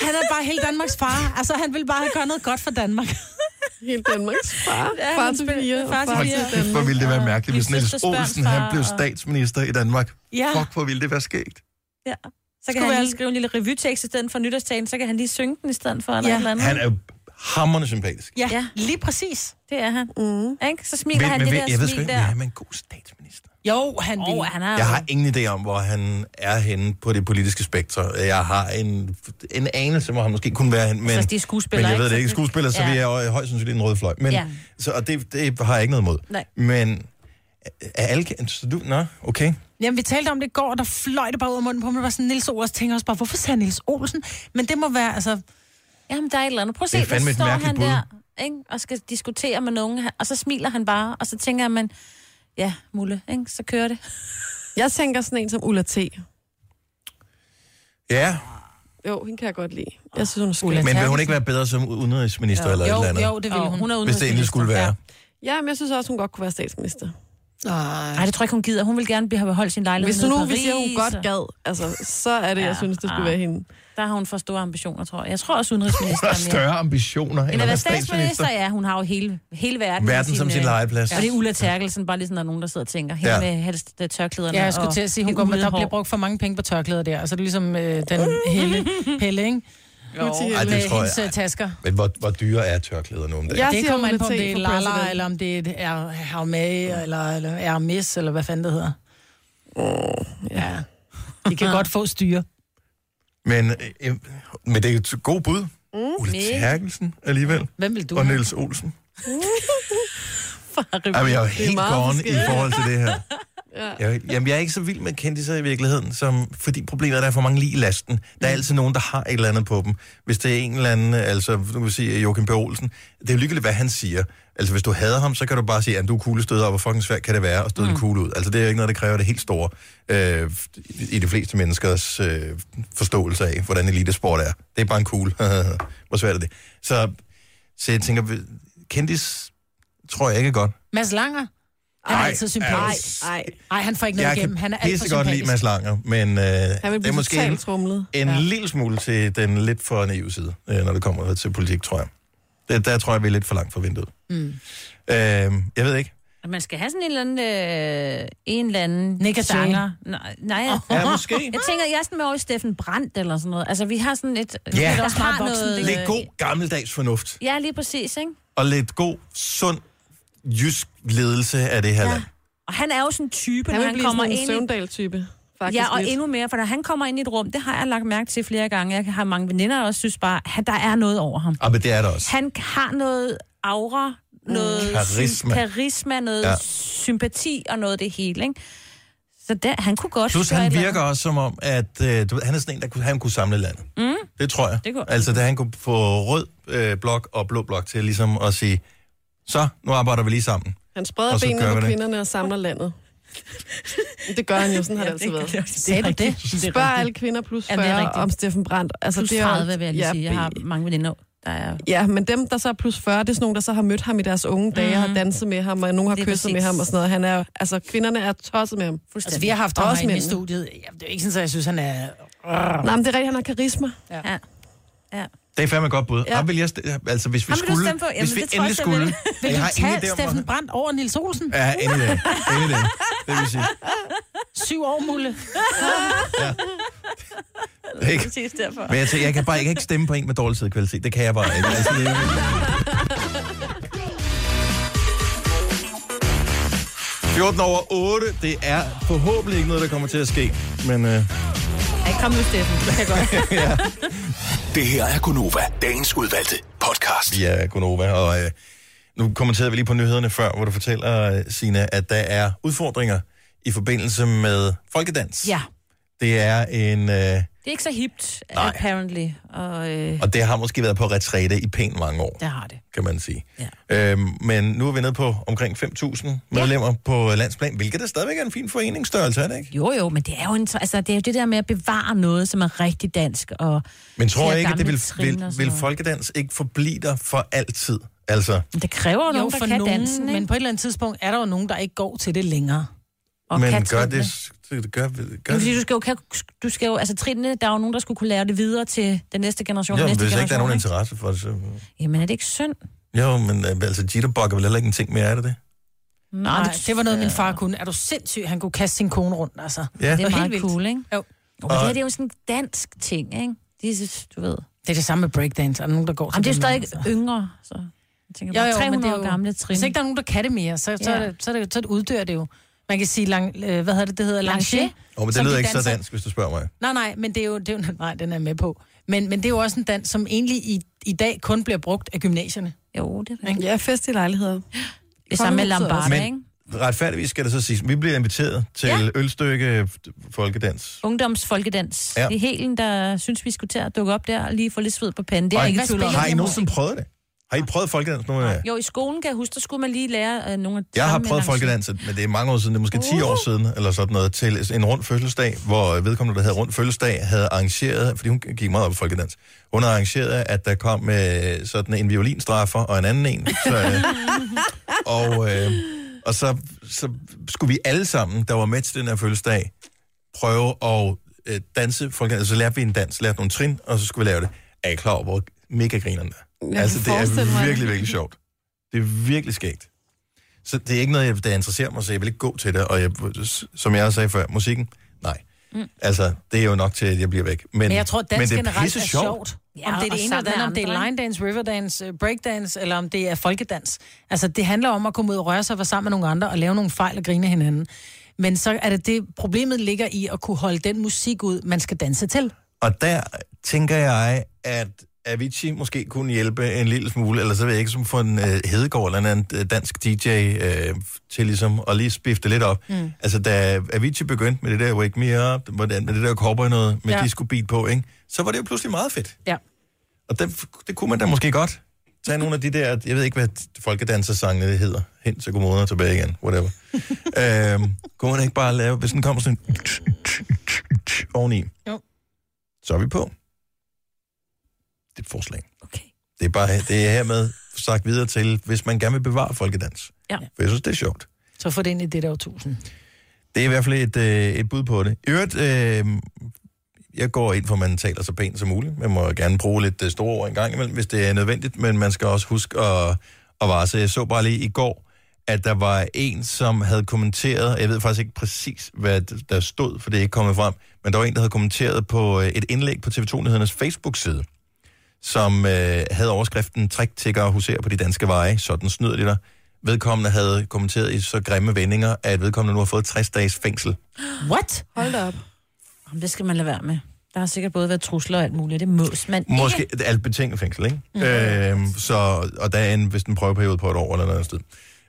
C: han er bare hele Danmarks far. Altså, han vil bare have gjort noget godt for Danmark. (laughs)
B: Hele Danmarks far.
C: Ja,
B: Far
C: han
B: til
C: spil-
B: fire og
C: Far
B: far
C: til
B: til
C: fire.
A: Kæft, hvor ville det være mærkeligt, hvis
C: Min
A: Niels
C: søsters børns
A: Olsen han
C: far
A: blev
C: og-
A: statsminister i Danmark.
D: Ja.
A: Fuck, hvor ville det være skægt.
D: Ja. Så
C: Skulle
D: kan han
C: være-
D: lige skrive en lille revytekst i stedet for nytårstagen, så kan han lige synge den i stedet for, eller ja. et eller andet.
A: Han er jo hammerne sympatisk.
D: Ja, ja, lige præcis. Det er han. Mm. Ikke? Så smiler han
A: men,
D: det
A: ved-
D: der
A: jeg ved sgu
D: smil
A: ikke,
D: der.
A: om han er en god
C: Jo, han
D: vil. Oh, han er
A: Jeg har ingen idé om, hvor han er henne på det politiske spektrum. Jeg har en, en anelse, hvor han måske kunne være henne. Men,
D: Altså, de er skuespillere,
A: men jeg ved
D: ikke?
A: det ikke.
D: Så det-
A: Skuespiller, så
D: Ja.
A: vi er jo højst sandsynligt i den røde fløj. Men,
D: Ja.
A: så, og det, det har jeg ikke noget imod.
C: Nej.
A: Men er alle... Så du, nå, okay.
C: Jamen, vi talte om det i går, og der fløj det bare ud af munden på mig. Det var sådan, Nils Olsen tænker også bare, hvorfor sagde Nils Olsen? Men det må være, altså...
D: Jamen, der er et eller andet. Prøv at se,
A: Det er fandme
D: der
A: et
D: står
A: mærkeligt
D: han
A: bud.
D: der ikke? og skal diskutere med nogen, og så smiler han bare, og så tænker man, ja, Mulle, ikke? så kører det.
B: Jeg tænker sådan en som Ulla T.
A: Ja,
B: Jo, hende kan jeg godt lide. Jeg synes, hun er skæg.
A: men vil hun ikke være bedre som udenrigsminister
B: Jo.
A: eller et
B: Jo,
A: eller andet?
B: jo, det ville hun. Hun er
A: Hvis det endelig skulle være.
B: udenrigsminister, Ja, men jeg synes også, hun godt kunne være statsminister.
D: Nej, det tror jeg ikke, hun gider. Hun vil gerne blive- have beholdt sin lejlighed
B: Hvis du
D: nede i
B: nu vi siger, hun
D: Paris,
B: godt
D: og-
B: gad, altså, så er det, jeg synes, det skulle
D: ah.
B: være hende.
D: Der har hun for store ambitioner, tror jeg. Jeg tror også,
A: (laughs)
D: udenrigsminister
A: Hun har større ambitioner end at
D: End at være
A: statsminister.
D: statsminister, ja, hun har jo hele, hele verden.
A: Verden
D: i
A: som sin
D: øh,
A: legeplads.
D: Og det er Ulla Terkelsen, bare lige sådan, der er nogen, der sidder og tænker. Hende
A: Ja.
D: ja. med helst øh, tørklæderne.
C: Ja, jeg skulle
D: og
C: til at sige,
D: det
C: hun går med, der
D: ulede
C: bliver
D: hår.
C: brugt for mange penge på tørklæder der. Altså, det er ligesom øh, den (laughs) hele Pelle, ikke?
A: Jo. Ej, det
C: med
A: tror jeg-
C: hendes øh, tasker.
A: Men hvor, hvor dyre er tørklæder nu om dagen?
C: Ja, det kommer an på, om
B: Ulla T.
C: det er
B: for
C: Lala,
B: president.
C: eller om det er Hermé, eller, eller Hermes, eller hvad fanden det hedder. Ja. (laughs) De kan godt få styre.
A: Men, øh, men det er et godt bud. Mm, Ulla Terkelsen alligevel.
C: Hvem vil du
A: Og
C: have?
A: Niels Olsen.
D: Far,
A: Jamen, jeg er jo
D: det
A: helt
D: meget
A: gone i
D: forskelligt.
A: forhold til det her.
B: Ja.
A: Jeg, jamen, jeg er ikke så vild med kendtiser i virkeligheden, som, fordi problemet er, at der er for mange lige i lasten. Der er altid nogen, der har et eller andet på dem. Hvis det er en eller anden, altså nu vil jeg sige Joachim B. Olsen, det er jo ligegyldigt, hvad han siger. Altså hvis du hader ham, så kan du bare sige, at du er kuglestøder, og hvor fucking svært kan det være at støde mm. en kugle ud. Altså det er jo ikke noget, der kræver det helt store øh, i de fleste menneskers øh, forståelse af, hvordan elitesport er. Det er bare en kugle. (laughs) hvor svært er det? Så, så jeg tænker, kendis tror jeg ikke er godt.
C: Mads Langer? Han er
A: Ej,
C: altid
A: altså.
C: sympatisk. Nej, nej. han får ikke noget
A: jeg
C: igennem. Han er alt for
A: godt lide
C: sympatisk.
A: Mads Langer, men øh,
B: Han vil
A: det er
B: blive
A: måske en,
B: totalt trumlet.
A: en ja. lille smule til den lidt for naive side, øh, når det kommer til politik, tror jeg. Det, der tror jeg, vi er lidt for langt for vinduet.
C: Mm.
A: Øh, jeg ved ikke.
D: Man skal have sådan en eller anden... Øh, en eller anden
C: Nick Cave.
D: sanger. Nej, nej.
A: Ja, måske.
D: (laughs) Jeg tænker, jeg er sådan med over i Steffen Brandt eller sådan noget. Altså, vi har sådan et...
A: Ja.
D: der
A: Også
D: har
C: meget voksen,
D: noget...
A: Lidt god gammeldags fornuft,
D: Ja, lige præcis, ikke?
A: og lidt god, sund, jysk ledelse af det her ja. land.
D: Og han er jo sådan en type, når
B: Han vil
D: han
B: blive sådan
D: kommer
B: en
D: ind i
B: Søvndal-type, faktisk
D: Ja, og
B: lidt.
D: endnu mere, for når han kommer ind i et rum, det har jeg lagt mærke til flere gange. Jeg har mange veninder, der også synes bare, at der er noget over ham.
A: Ah, men det er der også.
D: Han har noget aura, noget
A: Karisma.
D: karisma, karisma noget
A: Ja.
D: ja. sympati og noget af det hele, ikke? Så der, han kunne godt...
A: Plus
D: gøre et
A: han
D: eller
A: virker også som om, at øh, du ved, han er sådan en, der kunne, han kunne samle landet.
D: andet. Mm.
A: Det tror jeg.
D: Det kunne-
A: altså, da han kunne få rød øh, blok og blå blok til ligesom at sige, så, nu arbejder vi lige sammen.
B: Han spreder
A: Og så gør
B: benene
A: vi
B: på
A: det.
B: kvinderne og samler landet. Det gør han jo, sådan har det altid været.
D: Sagde du det? Det er
B: Spørg alle
D: rigtigt.
B: kvinder plus
D: Ja, det er
B: 40
D: rigtigt.
B: om Steffen Brandt. Altså,
D: Plus
B: det er jo-
D: 30, vil jeg lige sige. Jeg har mange veninder, der er...
B: Ja, men dem, der så er plus 40, det er sådan nogle, der så har mødt ham i deres unge dage, mm. har danset med ham, og nogen har
D: Det er
B: kysset
D: præcis.
B: med ham og sådan noget. Han er, altså, kvinderne er tosset med ham.
C: Altså, vi har haft ham herinde i studiet. Jamen, det er jo ikke sådan, at jeg synes, han er...
B: Nej, men det er rigtigt, han har karisma.
C: Ja.
D: ja. ja.
A: Det er fandme et godt bud.
B: Ja.
A: Ja. Vil jeg st- altså, hvis vi
D: Ham vil du
A: skulle...
D: stemme på? Jamen,
A: hvis vi
D: det tror jeg
A: endelig
D: også, jeg
A: skulle...
D: vil.
C: Vil
A: Jeg
C: du
A: har ingen idé
C: tage
A: om, hvor-
C: Steffen Brandt over Nils Olsen?
A: Ja, endelig det. Endelig det. Det vil sige,
C: Syv år, Mulle.
A: det er ikke...
D: Præcis derfor.
A: Men jeg, tænker, jeg kan bare jeg kan ikke stemme på en med dårlig sædkvalitet. Det kan jeg bare ikke. Altså, det er... 14 over 8, det er forhåbentlig ikke noget, der kommer til at ske. Men øh,
D: Ej, kom nu, Steffen. Det kan jeg godt.
E: Det her er Gunova, dagens udvalgte podcast.
A: vi er Gunova, og øh, nu kommenterede vi lige på nyhederne før, hvor du fortæller, øh, Sina, at der er udfordringer i forbindelse med folkedans.
D: Ja.
A: Det er en... Øh,
D: Det er ikke så hipt, apparently. Og, øh,
A: og det har måske været på retræte i pænt mange år,
D: det har det.
A: kan man sige. Ja. Øhm, men nu er vi nede på omkring 5.000 medlemmer ja. på landsplan, hvilket er stadigvæk er en fin foreningsstørrelse, er det ikke?
D: Jo, jo, men det er jo, en, altså, det er jo det der med at bevare noget, som er rigtig dansk. Og
A: Men tror
D: flere
A: jeg ikke, at det
D: gamle
A: vil,
D: trin
A: vil,
D: og sådan
A: vil
D: noget.
A: folkedans ikke forblive der for altid? Altså,
D: Men Det kræver jo, nogen, der
C: for
D: kan
C: nogen,
D: dansen, ikke?
C: Men på et eller andet tidspunkt er der jo nogen, der ikke går til det længere.
A: men gør det, det gør, gør
D: Gør
A: det
D: fordi du skal jo, kan, du skal jo, altså trinene, der er jo nogen, der skulle kunne lære det videre til den næste generation.
A: Jo,
D: den
A: men
D: næste
A: hvis ikke der er
D: generation,
A: nogen interesse for det, så...
D: Jamen er det ikke synd?
A: Jo, men øh, altså, jitterbug er vel heller ikke en ting mere, er det det?
C: Nej, Nej, det var noget, min far kunne. Er du sindssyg? Han kunne kaste sin kone rundt, altså.
A: Ja.
D: Det er
C: var
D: meget
C: helt vildt.
D: cool, ikke?
C: Jo.
D: Jo, men det her det er jo sådan en dansk ting, ikke? Det er, du ved.
C: Det er det samme med breakdance. Er der nogen, der går til
D: Jamen, det er jo
C: den
D: stadig
C: altså?
D: yngre, så... Jeg tænker bare, 300 år gamle trin.
C: Hvis ikke der er nogen, der kan det mere, så, så,
D: Ja.
C: er det, så, er det, så uddør det jo. Man kan sige, lang, øh, hvad hedder det, det hedder
D: Lanché.
C: lanché.
A: Åh, men det
C: som
A: lyder
C: de
A: ikke så
C: danser-
A: dansk, hvis du spørger mig.
C: Nej, nej, men det er jo, det er jo (laughs) nej, den er jeg med på. Men, men det er jo også en dans, som egentlig i, i dag kun bliver brugt af gymnasierne.
D: Jo, det er
C: rigtigt.
B: Ja, fest i lejligheder.
D: Det samme med
C: Kongehuset
D: Lambada,
A: Men-
D: ikke?
A: Retfærdigvis skal det så siges, vi bliver inviteret til ja. ølstykke folkedans.
D: Ungdomsfolkedans.
A: Ja.
D: Ja. Det er Helen, der synes, vi skulle til at dukke op der og lige få lidt sved på panden. Det er
A: Og
D: jeg ikke i tvivl om.
A: Har I nogensinde prøvet det? Har I prøvet folkedans nogen af jer?
D: Jo, i skolen kan jeg huske, der skulle man lige lære øh, nogle af
A: Jeg har
D: sangene
A: prøvet
D: langs-
A: folkedans, men det er mange år siden, det er måske 10 år siden, eller sådan noget, til en rund fødselsdag, hvor vedkommende, der havde rund fødselsdag, havde arrangeret, fordi hun gik meget op i folkedans, hun havde arrangeret, at der kom øh, sådan en violinstraffer og en anden en. Så, øh, og øh, og så, så skulle vi alle sammen, der var med til den her fødselsdag, prøve at øh, danse folkedans. Så lærte vi en dans, lærte nogle trin, og så skulle vi lave det. Er I klar over, hvor mega grinerne
L: Jeg
A: er?
L: kan
A: Altså, det
L: forestille
A: er
L: mig.
A: virkelig, virkelig sjovt. Det er virkelig skægt. Så det er ikke noget, jeg, der interesserer mig, så jeg vil ikke gå til det. Og jeg, som jeg også sagde før, musikken, nej. Mm.
C: Mm.
A: Altså, det er jo nok til, at jeg bliver væk. Men,
C: Men, men jeg tror,
A: men
C: dans
A: det er
C: generelt er
A: pisse
C: sjovt. sjovt. Ja, om det er
D: og
C: det ene
D: sammen
C: eller det andet,
D: med
C: om det
D: andre,
C: er
D: ikke?
C: line dance, riverdance, øh, breakdance, eller om det er folkedans. Altså, det handler om at komme ud og røre sig og være sammen med nogle andre og lave nogle fejl og grine af hinanden. Men så er det det, problemet ligger i at kunne holde den musik ud, man skal danse til.
A: Og der tænker jeg, at Avicii måske kunne hjælpe en lille smule, eller så ved jeg ikke, som for en øh, Hedegaard eller en anden øh, dansk DJ øh, til ligesom at lige spifte lidt op. Mm. Altså da Avicii begyndte med det der Wake Me Up, hvordan, med det der cowboy noget med ja.
C: Ja.
A: disco beat på, ikke? så var det jo pludselig meget fedt.
C: Ja.
A: Og det, det kunne man da måske godt. Tag nogle af de der, jeg ved ikke, hvad folkedansersangene det hedder, hen til godmorgen og tilbage igen, whatever. øhm, kunne man ikke bare lave, hvis den kommer sådan en oveni,
C: Jo.
A: så er vi på. Det er et forslag. Okay. Det er bare det er hermed sagt videre til, hvis man gerne vil bevare folkedans.
D: Ja.
A: For jeg synes, det er sjovt.
C: Så få det ind i det der årtusind.
A: Det er i hvert fald et, øh, et bud på det. I øvrigt, øh, jeg går ind for, at man taler så pænt som muligt. Man må gerne bruge lidt øh, store ord en gang imellem, hvis det er nødvendigt, men man skal også huske at, at vare sig. Jeg så bare lige i går, at der var en, som havde kommenteret, og jeg ved faktisk ikke præcis, hvad d- der stod, for det er ikke kommet frem, men der var en, der havde kommenteret på øh, et indlæg på TV2-nyhedernes Facebook-side, som øh, havde overskriften Træk, tigger og huserer på de danske veje, sådan snyder de dig. Vedkommende havde kommenteret i så grimme vendinger, at vedkommende nu har fået 60 dages fængsel.
C: What?
B: Hold da op.
D: Jamen, det skal man lade være med. Der har sikkert både været trusler og alt muligt. Det mås man
A: Måske
D: ikke.
A: det er alt betinget fængsel, ikke? Mm. Øhm, så, og der er en, hvis den prøveperiode på et år eller noget andet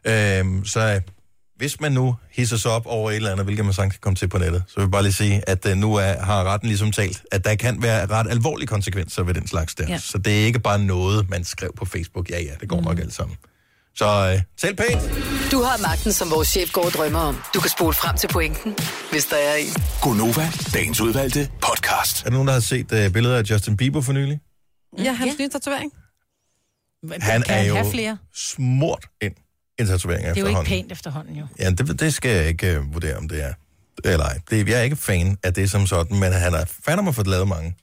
A: sted. Øhm, så hvis man nu hisser sig op over et eller andet, hvilket man sagtens kan komme til på nettet, så vil jeg bare lige sige, at øh, nu er, har retten ligesom talt, at der kan være ret alvorlige konsekvenser ved den slags der. Ja.
L: Ja.
A: Så det er ikke bare noget, man skrev på Facebook. Ja, ja, det går mm. nok alt sammen. Så øh, tal pænt.
F: Du har magten, som vores chef går og drømmer om. Du kan spole frem til pointen, hvis der er en.
E: Gonova, dagens udvalgte podcast.
A: Er der nogen, der har set øh, billeder af Justin Bieber for nylig?
B: Ja, hans nye tatovering.
A: Han
C: kan
A: er
C: han
A: jo
C: have flere?
A: smurt ind i en tatovering
C: Det er jo ikke
A: efterhånden.
C: pænt efterhånden, jo.
A: Ja, det, det skal jeg ikke øh, vurdere, om det er. Eller ej. Det, jeg er ikke fan af det som sådan, men han har fandme fået lavet mange.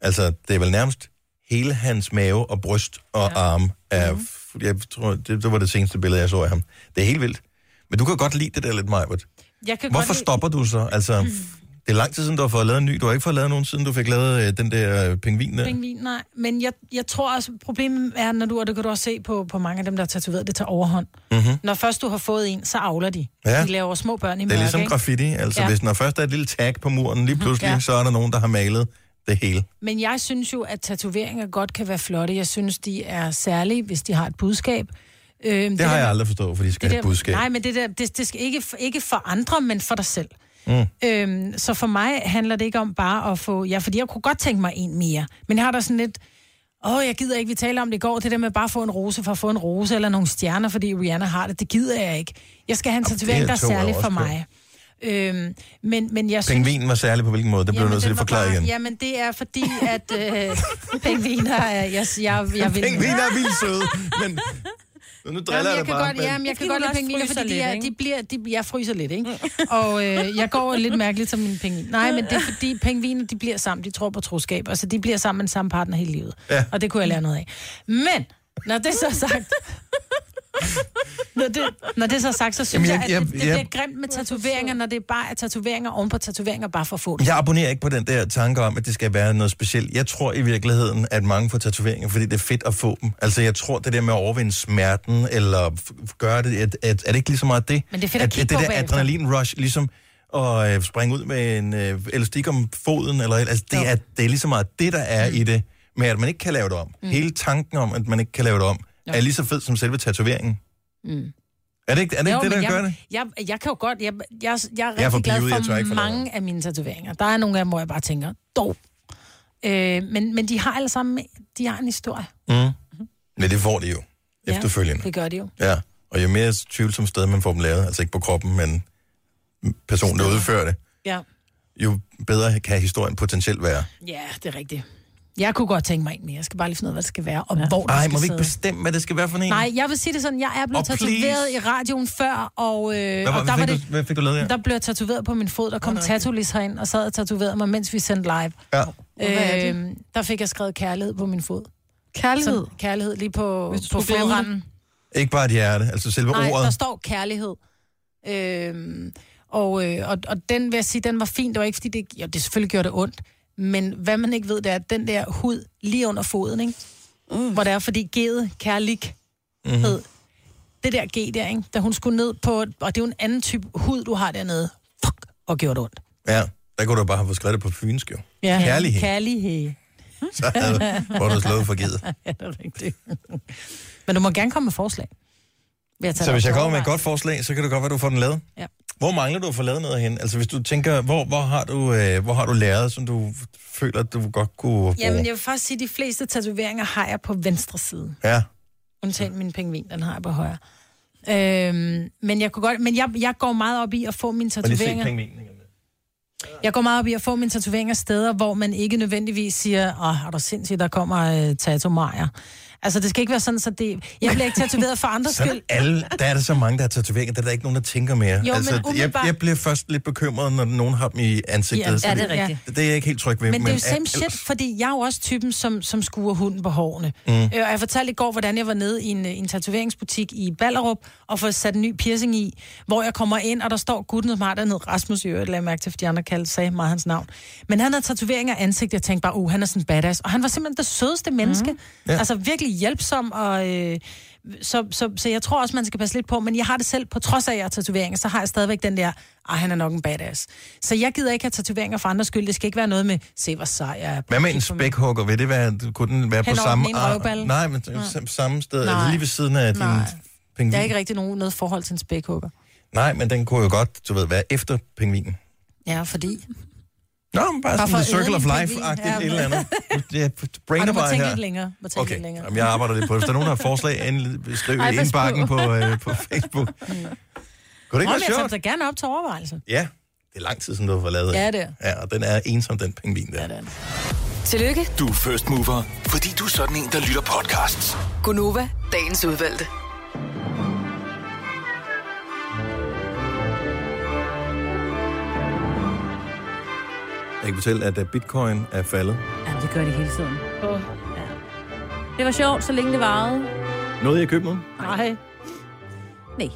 A: Altså, det er vel nærmest hele hans mave og bryst og ja. arm. Er,
C: Mhm.
A: mm. Jeg tror, det, det var det seneste billede, jeg så af ham. Det er helt vildt. Men du kan godt lide det der lidt, Majbert.
C: Jeg kan
A: Hvorfor
C: godt lide- Mm.
A: stopper du så? Altså, det er lang tid siden, du har fået lavet en ny. Du har ikke fået lavet nogen, siden du fik lavet øh, den der øh, pingvin der.
C: Pingvin, nej. Men jeg, jeg tror også, problemet er, når du, og det kan du også se på, på mange af dem, der er tatoveret, det tager overhånd.
A: Mhm.
C: Når først du har fået en, så avler de.
A: Ja.
C: De laver små børn i
A: Det er
C: mørke,
A: ligesom
C: ikke?
A: graffiti. Altså, ja.
C: Ja. Mhm.
A: hvis når først der er et lille tag på muren, lige pludselig, ja.
C: Ja.
A: så er der nogen, der har malet det hele.
C: Men jeg synes jo, at tatoveringer godt kan være flotte. Jeg synes, de er særlige, hvis de har et budskab. Øhm,
A: Det har jeg aldrig forstået, for de skal
C: det
A: have
C: der,
A: et budskab.
C: Nej, men det der, det, det skal ikke, ikke for andre, men for dig selv.
A: Mm.
C: Øhm, så for mig handler det ikke om bare at få... Ja, fordi jeg kunne godt tænke mig en mere. Men jeg har da sådan lidt... Åh, jeg gider ikke, vi talte om det i går, det der med bare at få en rose for at få en rose, eller nogle stjerner, fordi Rihanna har det. Det gider jeg ikke. Jeg skal have en tatovering, der er
A: tog jeg
C: særlig
A: også
C: for
A: på.
C: mig. Øhm, men, men jeg synes...
A: Pengvinen var særlig på hvilken måde? Det blev du
C: Jamen,
A: nødt til
C: den
A: at
C: var
A: forklare
C: bare-
A: igen.
C: Jamen, det er fordi, at øh, (laughs) pengviner er... Jeg, jeg, jeg vil...
A: Pengviner er vildt
C: (laughs)
A: søde, men... Nu driller
C: Jamen,
A: jeg
C: jeg
A: dig
C: kan
A: bare.
C: godt,
A: men-
C: jamen, jeg kan
D: Fordi
C: godt
D: man
C: lide pengeviner,
D: også fryser
C: fordi
D: lidt,
C: de er,
D: ikke? Mm.
C: de bliver, de, jeg fryser lidt, ikke? Og øh, jeg går lidt mærkeligt som mine pengeviner. Nej, men det er fordi pengeviner, de bliver sammen, de tror på troskab. Altså, de bliver sammen med den samme partner hele livet.
A: Ja.
C: Og det kunne jeg lære noget af. Men, når det så er sagt... når, det, når det så er sagt, så synes
A: Jamen,
C: jeg,
A: jeg-
C: at det,
A: jeg-
C: det
A: jeg-
C: bliver grimt med tatoveringer, når det bare er tatoveringer oven på tatoveringer, bare for at få det.
A: Jeg abonnerer ikke på den der tanke om, at det skal være noget specielt. Jeg tror i virkeligheden, at mange får tatoveringer, fordi det er fedt at få dem. Altså, jeg tror, det der med at overvinde smerten, eller f- f- gøre det, at, at, er det ikke lige så meget det?
C: Men det er fedt at kigge
A: det
C: på
A: der
C: bagefter.
A: adrenalin-rush, ligesom at øh, springe ud med en øh, elastik om foden, eller, altså, det, er, det er lige så meget det, der er mm. i det, med at man ikke kan lave det om. Mm. Hele tanken om, at man ikke kan lave det om,
C: Jo.
A: er lige så fed som selve tatoveringen.
C: Mm.
A: Er det ikke er det, ikke det der
C: men jeg,
A: gør det?
C: Jeg, jeg kan jo godt, jeg, jeg, jeg er
A: Jeg er
C: rigtig
A: for
C: glad
A: pivet, jeg tør
C: for
A: ikke få lavet
C: mange af mine tatoveringer. Der er nogle af dem, hvor jeg bare tænker, dog. Øh, men, men de har alle sammen, de har en historie.
A: Mm. Men det får de jo efterfølgende.
C: Ja, det gør de jo.
A: Ja, og jo mere tvivlsomt sted man får dem lavet, altså ikke på kroppen, men personen, der udfører det,
C: Ja.
A: jo bedre kan historien potentielt være.
C: ja, det er rigtigt. Jeg kunne godt tænke mig en mere. Jeg skal bare lige finde ud af, hvad det skal være, og ja. hvor det
A: Nej,
C: skal
A: må vi ikke
C: sidde.
A: bestemme, hvad det skal være for en?
C: Nej, jeg vil sige det sådan, jeg er blevet
A: Og
C: tatoveret
A: please.
C: i radioen før, og, øh,
A: hvad, var-
C: og der
A: hvad,
C: var
A: fik
C: det...
A: du, hvad fik du lavet her?
C: Der blev jeg tatoveret på min fod, der kom oh, Tatolis herind og sad og tatoverede mig, mens vi sendte live.
A: Ja.
B: er det?
C: Øh, der fik jeg skrevet kærlighed på min fod.
B: Kærlighed?
C: Som, kærlighed lige på,
B: Hvis du
C: på
B: skulle glemme det.
C: fodranden.
A: Ikke bare et hjerte, altså selve
C: Nej,
A: ordet.
C: der står kærlighed. Øhm, og, øh, og, og den vil jeg sige, den var fin. Det var ikke, fordi det, jo, det selvfølgelig gjorde det ondt. Men hvad man ikke ved, det er, at den der hud lige under foden, ikke? Mm. hvor det er, fordi G'et, kærlighed,
A: Mhm.
C: det der G der, ikke? da hun skulle ned på, og det er jo en anden type hud, du har dernede, fuck, og gjorde det ondt.
A: Ja, der kunne du bare have fået skrevet det på fynsk, jo. Kærlighed.
C: Kærlighed. (laughs)
A: Så havde hvor du slået for givet.
C: ja, det er rigtigt. Men du må gerne komme med forslag. Vil
A: Så
C: tage det
A: hvis
C: op
A: jeg
C: til
A: kommer med et
C: overvejelse.
A: godt forslag, så kan det godt være, du får den lavet.
C: Ja.
A: Hvor mangler du at få lavet noget hen? Altså hvis du tænker, hvor, hvor, har, du, øh, hvor har du læret, som du føler, at du godt kunne bruge?
C: Jamen, jeg vil faktisk sige, at de fleste tatoveringer har jeg på venstre side.
A: Ja.
C: Undtagen min pingvin, den har jeg på højre. Øhm, men jeg, kunne godt, men jeg, jeg går meget op i at få mine
A: Må lige se
C: tatoveringer.
A: pengvinen igen.
C: Jeg går meget op i at få mine tatoveringer steder, hvor man ikke nødvendigvis siger, åh, er du sindssygt, der kommer øh, tatomager. Altså, det skal ikke være sådan, så det... Jeg bliver ikke tatoveret for andres
A: Sådan
C: skyld.
A: alle, der er der så mange, der har tatoveringer, der er der ikke nogen, der tænker mere. Altså,
C: Jo, men
A: jeg,
C: umiddelbart-
A: jeg bliver først lidt bekymret, når nogen har dem i ansigtet.
C: Ja,
A: så
C: ja, det er rigtigt.
A: Det, det er jeg ikke helt tryg ved.
C: Men, men det er jo same
A: al-
C: shit, fordi jeg er jo også typen, som, som skuer hunden på hårene.
A: Mm.
C: Mm. Øh, og jeg fortalte i går, hvordan jeg var nede i en, øh, en tatoveringsbutik i Ballerup, og får sat en ny piercing i, hvor jeg kommer ind, og der står gutten, som har dernede, Rasmus i øvrigt, lagde jeg mærke til, fordi andre kaldte, sagde meget hans navn. Men han havde tatoveringer af ansigt, jeg tænkte bare, uh, han er sådan badass. Og han var simpelthen det sødeste menneske. Mm.
A: Ja.
C: Ja. Altså virkelig hjælpsom, og... Øh, så, så, så jeg tror også, man skal passe lidt på, men jeg har det selv, på trods af, at jeg har tatoveringer, så har jeg stadigvæk den der, ah, han er nok en badass. Så jeg gider ikke have tatoveringer for andres skyld. Det skal ikke være noget med, se hvor sej jeg er.
A: Hvad med en
C: Kig på mig.
A: spækhugger? Vil det være, kunne den være
C: Hen
A: på
C: over
A: samme...
C: den ene
A: ar-
C: røvballe?
A: Nej, men sam- samme sted, altså
C: Nej.
A: lige ved siden af din
C: Nej.
A: pingvin.
C: Der er ikke rigtig nogen, noget forhold til en spækhugger.
A: Nej, men den kunne jo godt, du ved, være efter pingvinen.
C: Ja, fordi...
A: Nå, men bare,
C: Bare
A: bare
C: for
A: sådan en
C: at æde
A: circle of
C: en pingvin.
A: life-agtigt
C: Ja,
A: et eller
C: men-
A: andet. Jeg
C: Ej,
A: brainer
C: du må
A: bare
C: tænke
A: her.
C: lidt længere. Må tænke
A: Okay,
C: lidt længere.
A: Jamen, jeg arbejder lidt på det. Hvis der er nogen, der har forslag, endelig skriv i
C: Ej, pas på.
A: indbakken på, øh,
C: (laughs)
A: på Facebook. Kunne det ikke
C: Nå, men
A: være
C: jeg tager
A: sjovt?
C: dig gerne op til overvejelse.
A: Ja, det er lang tid siden, du har fået lavet
C: Ja,
A: en.
C: det er.
A: Ja, og den er ensom, den pingvin der.
F: Tillykke,
E: Du er first mover, fordi du er sådan en, der lytter podcasts.
F: Gunova, dagens udvalgte.
A: Jeg kan fortælle, at øh, bitcoin er faldet.
D: Jamen, det gør det hele tiden. Oh. Ja. Det var sjovt, så længe det varede.
A: Noget, jeg købte nu?
C: Nej.
D: Nej.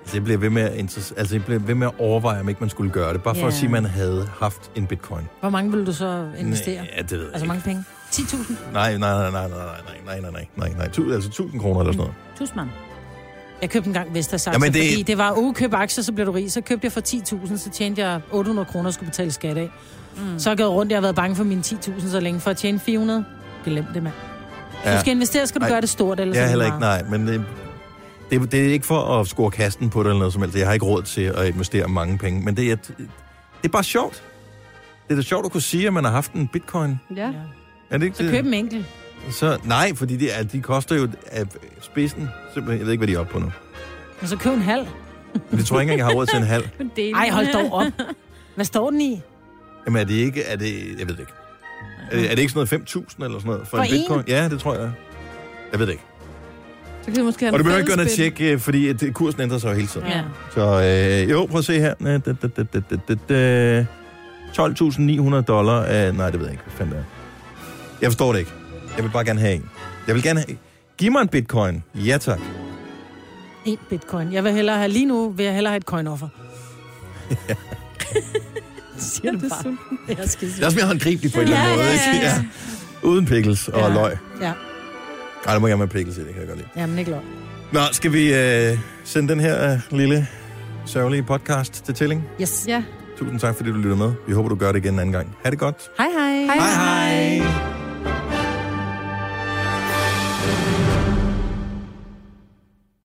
A: Altså, jeg bliver ved med at, interess- altså, jeg bliver ved med at overveje, om ikke man skulle gøre det. Bare for
C: Ja.
A: at sige, at man havde haft en bitcoin.
C: Hvor mange vil du så investere?
A: Nej, ja, det ved jeg
C: Altså, mange penge? 10.000?
A: Nej, nej, nej, nej, nej, nej, nej, nej, nej, nej, nej. Tu- altså 1000 kroner eller sådan noget.
D: Tusmand.
C: Jeg købte engang Vestas aktier,
A: Jamen, det-
C: det... fordi det var ukøb aktier, så blev du rig. Så købte jeg for 10.000, så tjente jeg 800 kroner og skulle betale skat af. Mm. Så har jeg gået rundt, jeg har været bange for mine 10.000 så længe for at tjene 400. Glem det, mand. Ja. Du skal investere, skal du
A: Nej.
C: gøre det stort, eller
A: Jeg er heller ikke, nej, men det, Det, det er ikke for at score kasten på det eller noget som helst. Jeg har ikke råd til at investere mange penge. Men det er, det er bare sjovt. Det er da sjovt at kunne sige, at man har haft en bitcoin.
C: Ja.
A: Er det ikke
C: Så
A: det?
C: køb en enkelt.
A: Så, nej, fordi de, er- de koster jo af spidsen. Simpelthen, jeg ved ikke, hvad de er oppe på nu.
C: Og så køb en halv.
A: Men det tror jeg ikke engang, jeg har råd til en halv.
C: Ej, hold dog op. Hvad står den i?
A: Jamen er det ikke, er det, jeg ved det ikke. Er det, er det ikke sådan noget 5.000 eller sådan noget? For,
B: For
A: en bitcoin?
B: en?
A: Ja, det tror jeg. Jeg ved det ikke.
B: Så kan vi måske have
A: Og du
B: en
A: behøver ikke gøre noget
B: fælles spil.
A: tjek, øh, fordi at øh, kursen ændrer sig jo hele tiden.
B: Ja.
A: Så øh, jo, prøv at se her. Næ, da, da, da, da, da, da. 12.900 dollar. Af, nej, det ved jeg ikke. Hvad fanden det er. Jeg forstår det ikke. Jeg vil bare gerne have en. Jeg vil gerne have... Giv mig en bitcoin. Ja tak.
C: En bitcoin. Jeg vil hellere have, lige nu vil jeg hellere have et coin-offer. Siger du bare.
D: (laughs)
C: Jeg er
A: Det er også
C: skidt.
A: mere håndgribeligt på en eller anden
C: Ja,
A: måde.
C: ja,
A: Ikke?
C: ja, ja.
A: Uden pickles og
C: Ja.
A: løg.
C: Ja,
A: Nej, det må jeg med pickles i, det kan jeg godt lide.
C: jamen ikke lov.
A: Nå, skal vi øh, sende den her øh, lille sørgelige podcast til Tilling?
C: Yes. Ja.
A: Tusind tak, fordi du lytter med. Vi håber, du gør det igen en anden gang. Ha' det godt.
C: Hej hej. Hej hej.
A: hej.